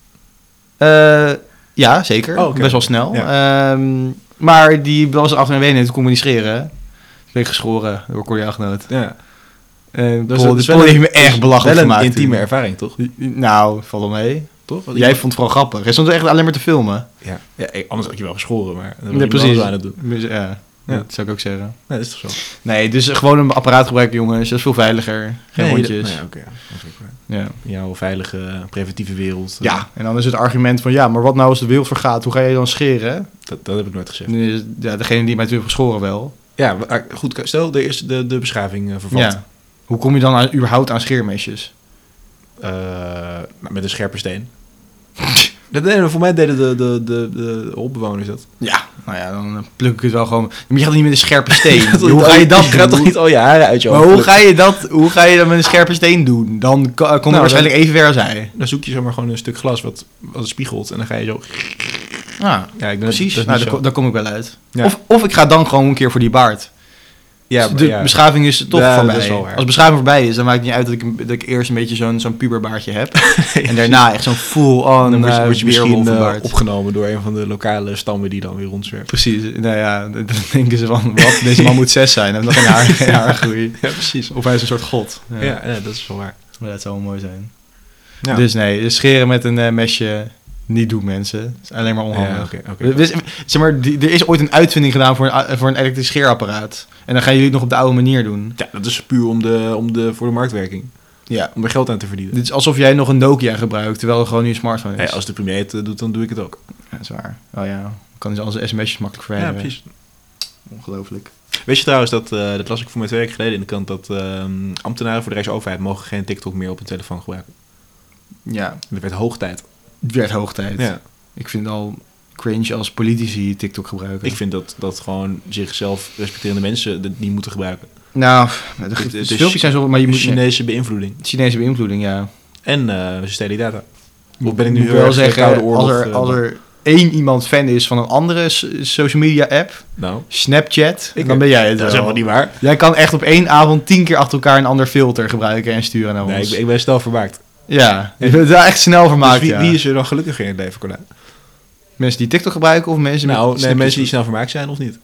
[SPEAKER 1] Eh, ja, zeker.
[SPEAKER 2] Oh, oké.
[SPEAKER 1] Best wel snel. Ehm, Maar die was af en wenen, toen kon me niet scheren. Toen ben ik geschoren door Corrie Agnoot.
[SPEAKER 2] Ja.
[SPEAKER 1] En
[SPEAKER 2] Dus
[SPEAKER 1] Paul,
[SPEAKER 2] dat
[SPEAKER 1] dus
[SPEAKER 2] is wel
[SPEAKER 1] Paul
[SPEAKER 2] een-
[SPEAKER 1] heeft me echt belachelijk
[SPEAKER 2] Wel een
[SPEAKER 1] gemaakt.
[SPEAKER 2] intieme
[SPEAKER 1] toen.
[SPEAKER 2] ervaring, toch?
[SPEAKER 1] Nou, valt wel mee.
[SPEAKER 2] toch? Want
[SPEAKER 1] Jij
[SPEAKER 2] iemand-
[SPEAKER 1] vond het vooral grappig. En soms echt alleen maar te filmen.
[SPEAKER 2] ja. ja, eh, anders had je wel geschoren, maar dat
[SPEAKER 1] Ja,
[SPEAKER 2] wil ik
[SPEAKER 1] precies.
[SPEAKER 2] wel zo aan het doen.
[SPEAKER 1] Dus, ja,
[SPEAKER 2] Ja.
[SPEAKER 1] dat zou ik ook zeggen.
[SPEAKER 2] Nee, dat is toch zo.
[SPEAKER 1] Nee, dus gewoon een apparaat gebruiken, jongens. Dat is veel veiliger. Geen
[SPEAKER 2] Nee,
[SPEAKER 1] hondjes.
[SPEAKER 2] dat- nee, oké, ja. Dat is ook waar.
[SPEAKER 1] ja.
[SPEAKER 2] Jouw veilige, preventieve wereld. eh,
[SPEAKER 1] ja, en dan is het argument van... Ja, maar wat nou als de wereld vergaat? Hoe ga je dan scheren?
[SPEAKER 2] Dat, dat heb ik nooit gezegd.
[SPEAKER 1] Nu is- Ja, degene die mij toen heeft geschoren wel.
[SPEAKER 2] Ja, maar goed. Stel, er is de, de beschaving eh, vervalt.
[SPEAKER 1] Ja. Hoe kom je dan aan, überhaupt aan scheermesjes?
[SPEAKER 2] Eh, maar met een scherpe steen. (laughs) Dat- nee, maar voor mij deden de, de, de, de hopbewoners dat.
[SPEAKER 1] Ja, nou ja, dan eh, pluk ik het wel gewoon. Maar je gaat niet met een scherpe steen.
[SPEAKER 2] (laughs) (laughs) Dat-
[SPEAKER 1] hoe ga je dat
[SPEAKER 2] Je gaat toch
[SPEAKER 1] doen?
[SPEAKER 2] niet al je haren uit je
[SPEAKER 1] Maar
[SPEAKER 2] hoofd
[SPEAKER 1] hoe
[SPEAKER 2] plukken?
[SPEAKER 1] ga je dat? Hoe ga je dat met een scherpe steen doen? Dan ko- eh, kom je
[SPEAKER 2] dan-
[SPEAKER 1] waarschijnlijk even ver als hij.
[SPEAKER 2] Dan zoek je zomaar gewoon een stuk glas wat, wat spiegelt en dan ga je zo...
[SPEAKER 1] Ja,
[SPEAKER 2] Ja, ik denk dat-
[SPEAKER 1] precies.
[SPEAKER 2] dat is
[SPEAKER 1] nou,
[SPEAKER 2] niet
[SPEAKER 1] daar,
[SPEAKER 2] zo.
[SPEAKER 1] ko- daar kom ik wel uit.
[SPEAKER 2] Ja.
[SPEAKER 1] Of, of ik ga dan gewoon een keer voor die baard.
[SPEAKER 2] Ja,
[SPEAKER 1] Dus de
[SPEAKER 2] ja.
[SPEAKER 1] beschaving is toch
[SPEAKER 2] Ja, dat
[SPEAKER 1] voorbij.
[SPEAKER 2] is wel waar.
[SPEAKER 1] Als beschaving voorbij is, dan maakt het niet uit dat ik, een- dat ik eerst een beetje zo'n zo'n puberbaardje (laughs) heb. en daarna echt zo'n
[SPEAKER 2] En
[SPEAKER 1] full-on
[SPEAKER 2] dan word je,
[SPEAKER 1] eh,
[SPEAKER 2] word je misschien eh,
[SPEAKER 1] weerwolfbaard.
[SPEAKER 2] opgenomen door een van de lokale stammen die dan weer rondzwerven.
[SPEAKER 1] Precies, nou ja, dan denken ze van, wat, deze man moet zes zijn. Hij heeft nog geen haar, geen haargroei. (laughs)
[SPEAKER 2] Ja, precies.
[SPEAKER 1] Of hij is een soort god.
[SPEAKER 2] Ja, ja, dat is wel waar.
[SPEAKER 1] Maar dat zou wel mooi zijn.
[SPEAKER 2] Ja.
[SPEAKER 1] Dus nee, dus scheren met een eh, mesje niet doen mensen. Het is alleen maar onhandig.
[SPEAKER 2] Ja, oké, oké.
[SPEAKER 1] We- we- zeg maar, die- er is ooit een uitvinding gedaan voor een, eh, voor een elektrisch scheerapparaat. En dan gaan jullie het nog op de oude manier doen.
[SPEAKER 2] Ja, dat is puur om de, om de, voor de marktwerking.
[SPEAKER 1] Ja.
[SPEAKER 2] Om er geld aan te verdienen.
[SPEAKER 1] Dit is alsof jij nog een Nokia gebruikt, terwijl er gewoon nu een smartphone is.
[SPEAKER 2] Hey, als de premier het eh, doet, dan doe ik het ook.
[SPEAKER 1] Ja, dat is waar. Oh ja, kan dus al zijn sms'jes makkelijk verwijderen. Ongelooflijk.
[SPEAKER 2] Weet je trouwens dat, eh, dat las ik voor mijn twee weken geleden in de kant, dat ehm, ambtenaren voor de Rijksoverheid mogen geen TikTok meer op hun telefoon gebruiken.
[SPEAKER 1] Ja,
[SPEAKER 2] Dat werd hoog tijd.
[SPEAKER 1] het werd hoog tijd.
[SPEAKER 2] Ja.
[SPEAKER 1] Ik vind het al cringe als politici TikTok gebruiken.
[SPEAKER 2] Ik vind dat, dat gewoon zichzelf respecterende mensen dat niet moeten gebruiken.
[SPEAKER 1] Nou, de,
[SPEAKER 2] Het- het
[SPEAKER 1] de
[SPEAKER 2] is
[SPEAKER 1] filmpjes zijn zo, maar je moet...
[SPEAKER 2] Chinese beïnvloeding.
[SPEAKER 1] Chinese beïnvloeding, ja.
[SPEAKER 2] En eh ze stelen je data. Of ben ik nu
[SPEAKER 1] Moet
[SPEAKER 2] heel
[SPEAKER 1] wel
[SPEAKER 2] erg Koude
[SPEAKER 1] zeggen,
[SPEAKER 2] Oorlog,
[SPEAKER 1] als er,
[SPEAKER 2] eh,
[SPEAKER 1] als er één iemand fan is van een andere so- social media app,
[SPEAKER 2] Nou,
[SPEAKER 1] Snapchat,
[SPEAKER 2] Ik
[SPEAKER 1] dan
[SPEAKER 2] ook.
[SPEAKER 1] ben jij het
[SPEAKER 2] dat
[SPEAKER 1] wel.
[SPEAKER 2] is helemaal niet waar.
[SPEAKER 1] Jij kan echt op één avond tien keer achter elkaar een ander filter gebruiken en sturen naar
[SPEAKER 2] Nee,
[SPEAKER 1] ons.
[SPEAKER 2] ik, ben- ik ben snel vermaakt.
[SPEAKER 1] Ja, je bent daar echt snel vermaakt.
[SPEAKER 2] dus wie,
[SPEAKER 1] ja.
[SPEAKER 2] wie is er dan gelukkiger in het leven, Cornel?
[SPEAKER 1] Mensen die TikTok gebruiken of mensen met
[SPEAKER 2] Nou, nee,
[SPEAKER 1] Snapchat?
[SPEAKER 2] mensen die snel vermaakt zijn of niet?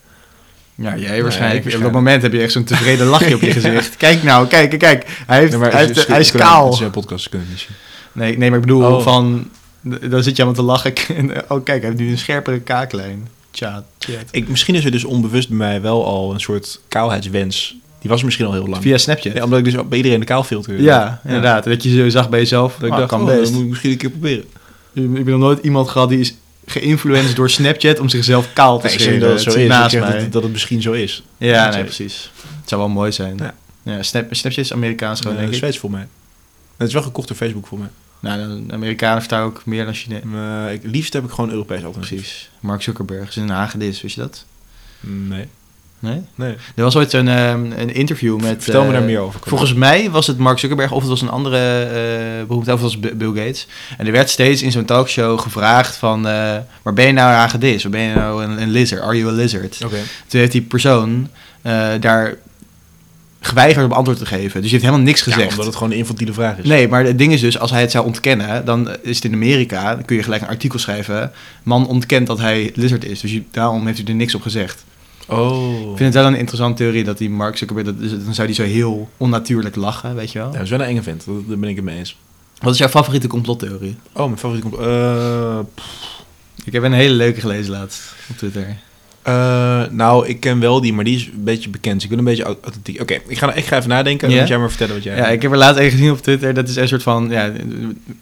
[SPEAKER 1] Ja, jij
[SPEAKER 2] ik
[SPEAKER 1] waarschijnlijk. Op dat
[SPEAKER 2] waarschijnlijk.
[SPEAKER 1] moment heb je echt zo'n tevreden lachje
[SPEAKER 2] (laughs)
[SPEAKER 1] op je gezicht. Kijk nou, kijk, kijk, kijk. Hij, heeft,
[SPEAKER 2] Nee,
[SPEAKER 1] hij, heeft, hij is
[SPEAKER 2] Dat
[SPEAKER 1] kaal.
[SPEAKER 2] zijn podcasts kunnen we niet zien.
[SPEAKER 1] Nee, nee, maar ik bedoel
[SPEAKER 2] Oh.
[SPEAKER 1] van... d- Dan zit je aan te lachen. (laughs) en, oh, kijk, hij heeft nu een scherpere kaaklijn. Tja, chat.
[SPEAKER 2] Ik, misschien is er dus onbewust bij mij wel al een soort kaalheidswens. Die was er misschien al heel lang.
[SPEAKER 1] Via Snapchat.
[SPEAKER 2] Ja, omdat ik dus bij iedereen de kaalfilter.
[SPEAKER 1] Ja, inderdaad. Dat je zo zag bij jezelf.
[SPEAKER 2] Dat ik dacht,
[SPEAKER 1] kan
[SPEAKER 2] oh,
[SPEAKER 1] best.
[SPEAKER 2] dat moet ik misschien een keer proberen.
[SPEAKER 1] Ik heb nog nooit iemand gehad die is geïnfluenced door Snapchat om zichzelf kaal te
[SPEAKER 2] Nee, ik zeg
[SPEAKER 1] scheren.
[SPEAKER 2] niet dat het
[SPEAKER 1] Het
[SPEAKER 2] zo
[SPEAKER 1] eh, zit
[SPEAKER 2] is.
[SPEAKER 1] Naast
[SPEAKER 2] ik zeg
[SPEAKER 1] mij.
[SPEAKER 2] dat, dat het misschien zo is.
[SPEAKER 1] ja,
[SPEAKER 2] dat
[SPEAKER 1] nee,
[SPEAKER 2] zeg-
[SPEAKER 1] precies. Het zou wel mooi zijn. Ja.
[SPEAKER 2] Ja.
[SPEAKER 1] Snap, Snapchat is Amerikaans gewoon,
[SPEAKER 2] Eh,
[SPEAKER 1] denk ik.
[SPEAKER 2] Zweeds voor mij. Het is wel gekocht door Facebook voor mij.
[SPEAKER 1] Nou, de Amerikanen vertrouwen ook meer dan Chinees.
[SPEAKER 2] Eh, ik, liefst heb ik gewoon Europees alternatief.
[SPEAKER 1] Precies. Mark Zuckerberg is in Den Haag gedis, wist je dat?
[SPEAKER 2] Nee.
[SPEAKER 1] Nee?
[SPEAKER 2] nee.
[SPEAKER 1] Er was ooit een, ehm, een interview met...
[SPEAKER 2] Vertel me
[SPEAKER 1] eh,
[SPEAKER 2] daar meer over. Cornel.
[SPEAKER 1] Volgens mij was het Mark Zuckerberg of het was een andere eh beroemdheid, of het was B- Bill Gates. En er werd steeds in zo'n talkshow gevraagd van, eh, waar ben je nou een hagedis? Waar ben je nou een, een lizard? Are you a lizard?
[SPEAKER 2] Oké.
[SPEAKER 1] Toen heeft die persoon eh, daar geweigerd om antwoord te geven. Dus je heeft helemaal niks
[SPEAKER 2] Ja,
[SPEAKER 1] gezegd.
[SPEAKER 2] omdat het gewoon een infantiele vraag is.
[SPEAKER 1] Nee, maar het ding is dus, als hij het zou ontkennen, dan is het in Amerika, dan kun je gelijk een artikel schrijven, man ontkent dat hij lizard is. Dus je- daarom heeft hij er niks op gezegd.
[SPEAKER 2] Oh.
[SPEAKER 1] Ik vind het wel een interessante theorie dat die Mark Zuckerberg, dat, is- dan zou die zo heel onnatuurlijk lachen, weet je wel.
[SPEAKER 2] Ja, dat is wel een enge vent. Dat- Daar ben ik het mee eens.
[SPEAKER 1] Wat is jouw favoriete complottheorie?
[SPEAKER 2] Oh, mijn favoriete... comp- eh,
[SPEAKER 1] Ik heb een hele leuke gelezen laatst op Twitter.
[SPEAKER 2] Eh, nou, ik ken wel die, maar die is een beetje bekend. Dus ik wil een beetje au- authentiek. Oké, ik, ga, nou- ik ga even nadenken.
[SPEAKER 1] Ja?
[SPEAKER 2] En dan moet jij maar vertellen wat jij.
[SPEAKER 1] Ja, ik heb er laatst een gezien op Twitter. Dat is een soort van, ja,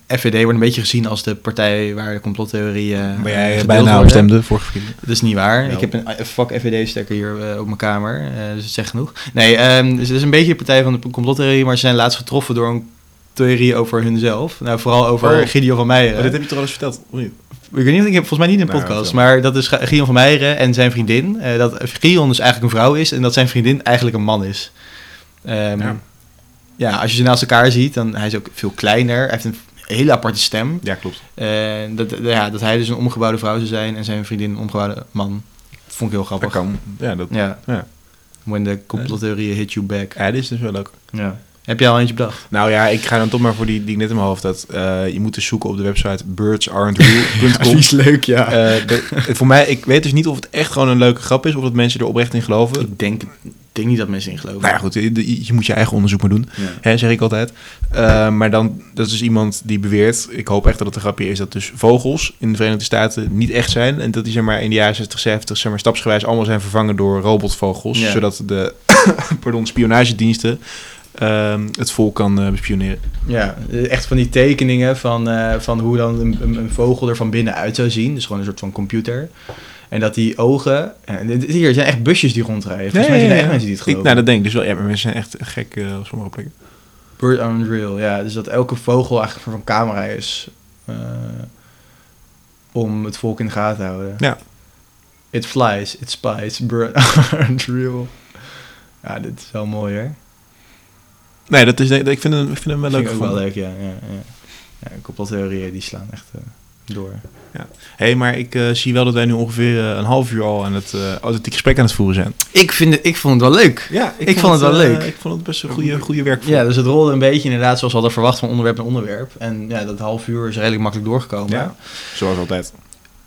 [SPEAKER 1] FVD wordt een beetje gezien als de partij waar de complottheorieën eh,
[SPEAKER 2] waar jij
[SPEAKER 1] gedeeld
[SPEAKER 2] bijna op
[SPEAKER 1] worden.
[SPEAKER 2] stemde vorige verkiezingen.
[SPEAKER 1] Dat is niet waar.
[SPEAKER 2] Wel.
[SPEAKER 1] Ik heb een eh, fuck FVD-stekker hier eh, op mijn kamer, eh, dus het zegt genoeg. Nee, ehm, dus het is een beetje de partij van de complottheorie, maar ze zijn laatst getroffen door een theorie over hunzelf. Nou, vooral over
[SPEAKER 2] Oh.
[SPEAKER 1] Gideon van Meijeren.
[SPEAKER 2] Maar dit heb je toch al eens verteld? of niet?
[SPEAKER 1] Ik weet niet, ik heb volgens mij niet in een
[SPEAKER 2] Nou,
[SPEAKER 1] podcast,
[SPEAKER 2] vertel.
[SPEAKER 1] maar dat is Ga- Gion van Meijeren en zijn vriendin. eh, dat Gion dus eigenlijk een vrouw is en dat zijn vriendin eigenlijk een man is. Ehm, ja.
[SPEAKER 2] Ja.
[SPEAKER 1] als je ze naast elkaar ziet, dan hij is ook veel kleiner. Hij heeft een hele aparte stem.
[SPEAKER 2] Ja, klopt.
[SPEAKER 1] En dat, ja, dat hij dus een omgebouwde vrouw zou zijn en zijn vriendin een omgebouwde man. Vond ik heel
[SPEAKER 2] Dat
[SPEAKER 1] grappig.
[SPEAKER 2] kan. Ja, dat.
[SPEAKER 1] Ja.
[SPEAKER 2] Ja.
[SPEAKER 1] When the complottheorie hit you back.
[SPEAKER 2] Ja, dit is dus wel leuk.
[SPEAKER 1] Ja. Heb jij al eentje
[SPEAKER 2] (laughs)
[SPEAKER 1] bedacht?
[SPEAKER 2] Nou ja, ik ga dan toch maar voor die die ik net in mijn hoofd had. Eh, je moet dus zoeken op de website (laughs) birdsarentreal.com.
[SPEAKER 1] is leuk, ja.
[SPEAKER 2] Eh, de- voor mij, ik weet dus niet of het echt gewoon een leuke grap is of dat mensen er oprecht in geloven.
[SPEAKER 1] Eh, ik denk, denk niet dat mensen in geloven.
[SPEAKER 2] Nou ja, goed, je, je- je moet je eigen onderzoek maar doen,
[SPEAKER 1] Ja.
[SPEAKER 2] hè, zeg ik altijd. Eh, maar dan, dat is dus iemand die beweert, ik hoop echt dat het een grapje is, dat dus vogels in de Verenigde Staten niet echt zijn. En dat die zeg maar in de jaren 60, 70, zeg maar stapsgewijs allemaal zijn vervangen door robotvogels.
[SPEAKER 1] Ja.
[SPEAKER 2] Zodat de (coughs) pardon, spionagediensten ehm, het volk kan eh, bespioneren.
[SPEAKER 1] Ja, echt van die tekeningen van, eh, van hoe dan een, een- een vogel er van binnenuit zou zien. Dus gewoon een soort van computer. En dat die ogen... En dit- hier, er zijn echt busjes die rondrijden. Volgens mij zijn er echt mensen die het
[SPEAKER 2] Ik-
[SPEAKER 1] geloven.
[SPEAKER 2] nou, dat denk ik dus wel. Ja, maar mensen zijn echt gek eh, op sommige plekken.
[SPEAKER 1] Bird on Real, ja. Dus dat elke vogel eigenlijk een soort van camera is. eh, om het volk in de gaten te houden.
[SPEAKER 2] Ja.
[SPEAKER 1] It flies, it spies, bird (laughs) on real. Ja, dit is wel mooi hoor.
[SPEAKER 2] Nee, dat is, ik, vind hem, ik vind hem wel
[SPEAKER 1] Vind ik
[SPEAKER 2] leuk.
[SPEAKER 1] ook wel
[SPEAKER 2] gevonden.
[SPEAKER 1] leuk, ja. ja, ja. ja complottheorieën die slaan echt eh, door.
[SPEAKER 2] Hé, hey, maar ik eh, zie wel dat wij nu ongeveer eh, een half uur al aan het eh authentieke gesprek aan het voeren zijn.
[SPEAKER 1] Ik, vind het, ik vond het wel leuk.
[SPEAKER 2] Ja,
[SPEAKER 1] Ik vond het wel
[SPEAKER 2] eh,
[SPEAKER 1] leuk.
[SPEAKER 2] Ik vond het best een goede, goede werk.
[SPEAKER 1] Ja, dus het rolde een beetje inderdaad zoals we hadden verwacht van onderwerp naar onderwerp. En ja, dat half uur is redelijk makkelijk doorgekomen.
[SPEAKER 2] Ja. Zoals altijd.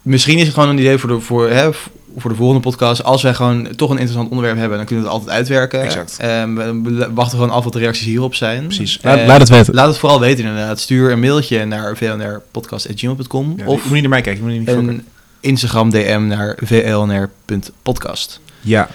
[SPEAKER 1] Misschien is het gewoon een idee voor de, voor, hè, voor de volgende podcast. Als wij gewoon toch een interessant onderwerp hebben, dan kunnen we het altijd uitwerken.
[SPEAKER 2] Exact.
[SPEAKER 1] Ehm, we we wachten gewoon af wat de reacties hierop zijn.
[SPEAKER 2] Precies.
[SPEAKER 1] Laat,
[SPEAKER 2] Laat, laat het weten.
[SPEAKER 1] laat het vooral weten inderdaad. Stuur een mailtje naar vlnrpodcast.gmail.com
[SPEAKER 2] Ja, je
[SPEAKER 1] of
[SPEAKER 2] moet niet naar mij kijken. Je moet niet fokken.
[SPEAKER 1] een Instagram DM naar vlnr.podcast.
[SPEAKER 2] Ja.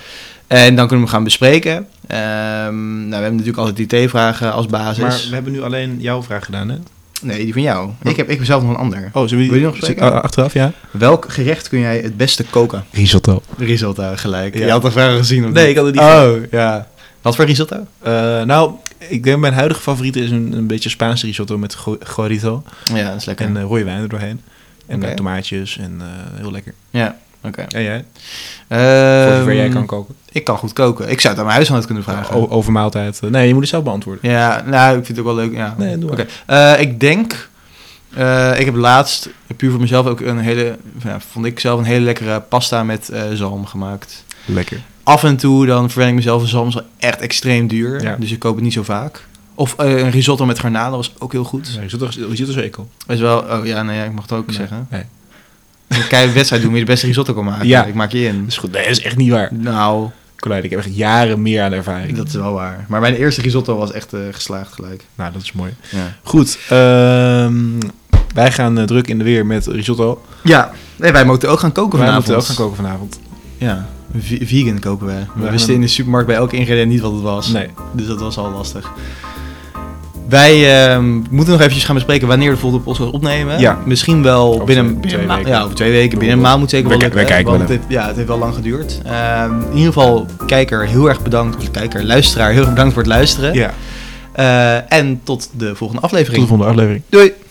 [SPEAKER 1] En dan kunnen we hem gaan bespreken. Ehm, nou, we hebben natuurlijk altijd IT-vragen als basis.
[SPEAKER 2] Maar we hebben nu alleen jouw vraag gedaan, hè?
[SPEAKER 1] Nee, die van jou. Ik heb, ik heb zelf nog een ander.
[SPEAKER 2] Oh, zullen we
[SPEAKER 1] Wil je nog spreken?
[SPEAKER 2] Ah, achteraf, ja?
[SPEAKER 1] Welk gerecht kun jij het beste koken?
[SPEAKER 2] Risotto.
[SPEAKER 1] Risotto gelijk.
[SPEAKER 2] Ja.
[SPEAKER 1] Je had de vraag gezien of
[SPEAKER 2] Nee, ik
[SPEAKER 1] niet?
[SPEAKER 2] had het niet.
[SPEAKER 1] Oh, ja. Wat voor risotto?
[SPEAKER 2] Eh, nou, ik denk mijn huidige favoriete is een, een beetje Spaanse risotto met go- guarito
[SPEAKER 1] Ja, dat is lekker.
[SPEAKER 2] en eh, rode wijn er doorheen. En
[SPEAKER 1] Oké.
[SPEAKER 2] eh, tomaatjes en eh, heel lekker.
[SPEAKER 1] ja, oké.
[SPEAKER 2] En jij?
[SPEAKER 1] Ehm,
[SPEAKER 2] Voor zover jij kan koken.
[SPEAKER 1] Ik kan goed koken. Ik zou het aan mijn huisgenoot kunnen vragen.
[SPEAKER 2] O- over maaltijd. Eh, Nee, je moet het zelf beantwoorden.
[SPEAKER 1] Ja, nou, ik vind het ook wel leuk. Ja.
[SPEAKER 2] Nee, doe maar.
[SPEAKER 1] Oké. Eh, ik denk... eh, ik heb laatst, puur voor mezelf, ook een hele... Ja, vond ik zelf een hele lekkere pasta met eh, zalm gemaakt.
[SPEAKER 2] Lekker.
[SPEAKER 1] Af en toe dan verwen ik mezelf, zalm is wel echt extreem duur.
[SPEAKER 2] Ja.
[SPEAKER 1] Dus ik koop het niet zo vaak. Of eh, een risotto met garnalen was ook heel goed.
[SPEAKER 2] Je zit toch je zit toch zo ekel?
[SPEAKER 1] Is wel, oh ja, nee, ja, ik mag het ook zeggen.
[SPEAKER 2] Nee.
[SPEAKER 1] Dan kan je een wedstrijd doen wie de beste risotto kan maken.
[SPEAKER 2] Ja.
[SPEAKER 1] Ik maak je in.
[SPEAKER 2] Dat is goed. Nee, dat is echt niet waar.
[SPEAKER 1] Nou,
[SPEAKER 2] Colijn, ik heb echt jaren meer aan ervaring.
[SPEAKER 1] dat is wel waar. Maar mijn eerste risotto was echt eh, geslaagd gelijk.
[SPEAKER 2] Nou, dat is mooi.
[SPEAKER 1] Ja,
[SPEAKER 2] Goed, ehm, wij gaan eh, druk in de weer met risotto.
[SPEAKER 1] ja. Nee, wij moeten ook gaan koken
[SPEAKER 2] wij
[SPEAKER 1] vanavond.
[SPEAKER 2] moeten ook gaan koken vanavond.
[SPEAKER 1] Ja, V- vegan koken wij. We
[SPEAKER 2] gaan
[SPEAKER 1] wisten
[SPEAKER 2] hem-
[SPEAKER 1] in de supermarkt bij elk ingrediënt niet wat het was.
[SPEAKER 2] Nee.
[SPEAKER 1] Dus dat was al lastig. Wij ehm, moeten nog eventjes gaan bespreken wanneer de volgende podcast opnemen.
[SPEAKER 2] Ja.
[SPEAKER 1] Misschien wel
[SPEAKER 2] Over
[SPEAKER 1] binnen,
[SPEAKER 2] twee-
[SPEAKER 1] binnen
[SPEAKER 2] twee
[SPEAKER 1] een ma-
[SPEAKER 2] weken.
[SPEAKER 1] Ja, over twee weken. Binnen een maand moet zeker
[SPEAKER 2] We
[SPEAKER 1] wel
[SPEAKER 2] ki- we
[SPEAKER 1] lukken.
[SPEAKER 2] kijken
[SPEAKER 1] want
[SPEAKER 2] wel
[SPEAKER 1] het, ja, het heeft wel lang geduurd. Ehm, in ieder geval, kijker, heel erg bedankt. Of kijker, luisteraar, heel erg bedankt voor het luisteren.
[SPEAKER 2] Ja,
[SPEAKER 1] Eh, en tot de volgende
[SPEAKER 2] tot de
[SPEAKER 1] aflevering.
[SPEAKER 2] volgende aflevering.
[SPEAKER 1] Doei!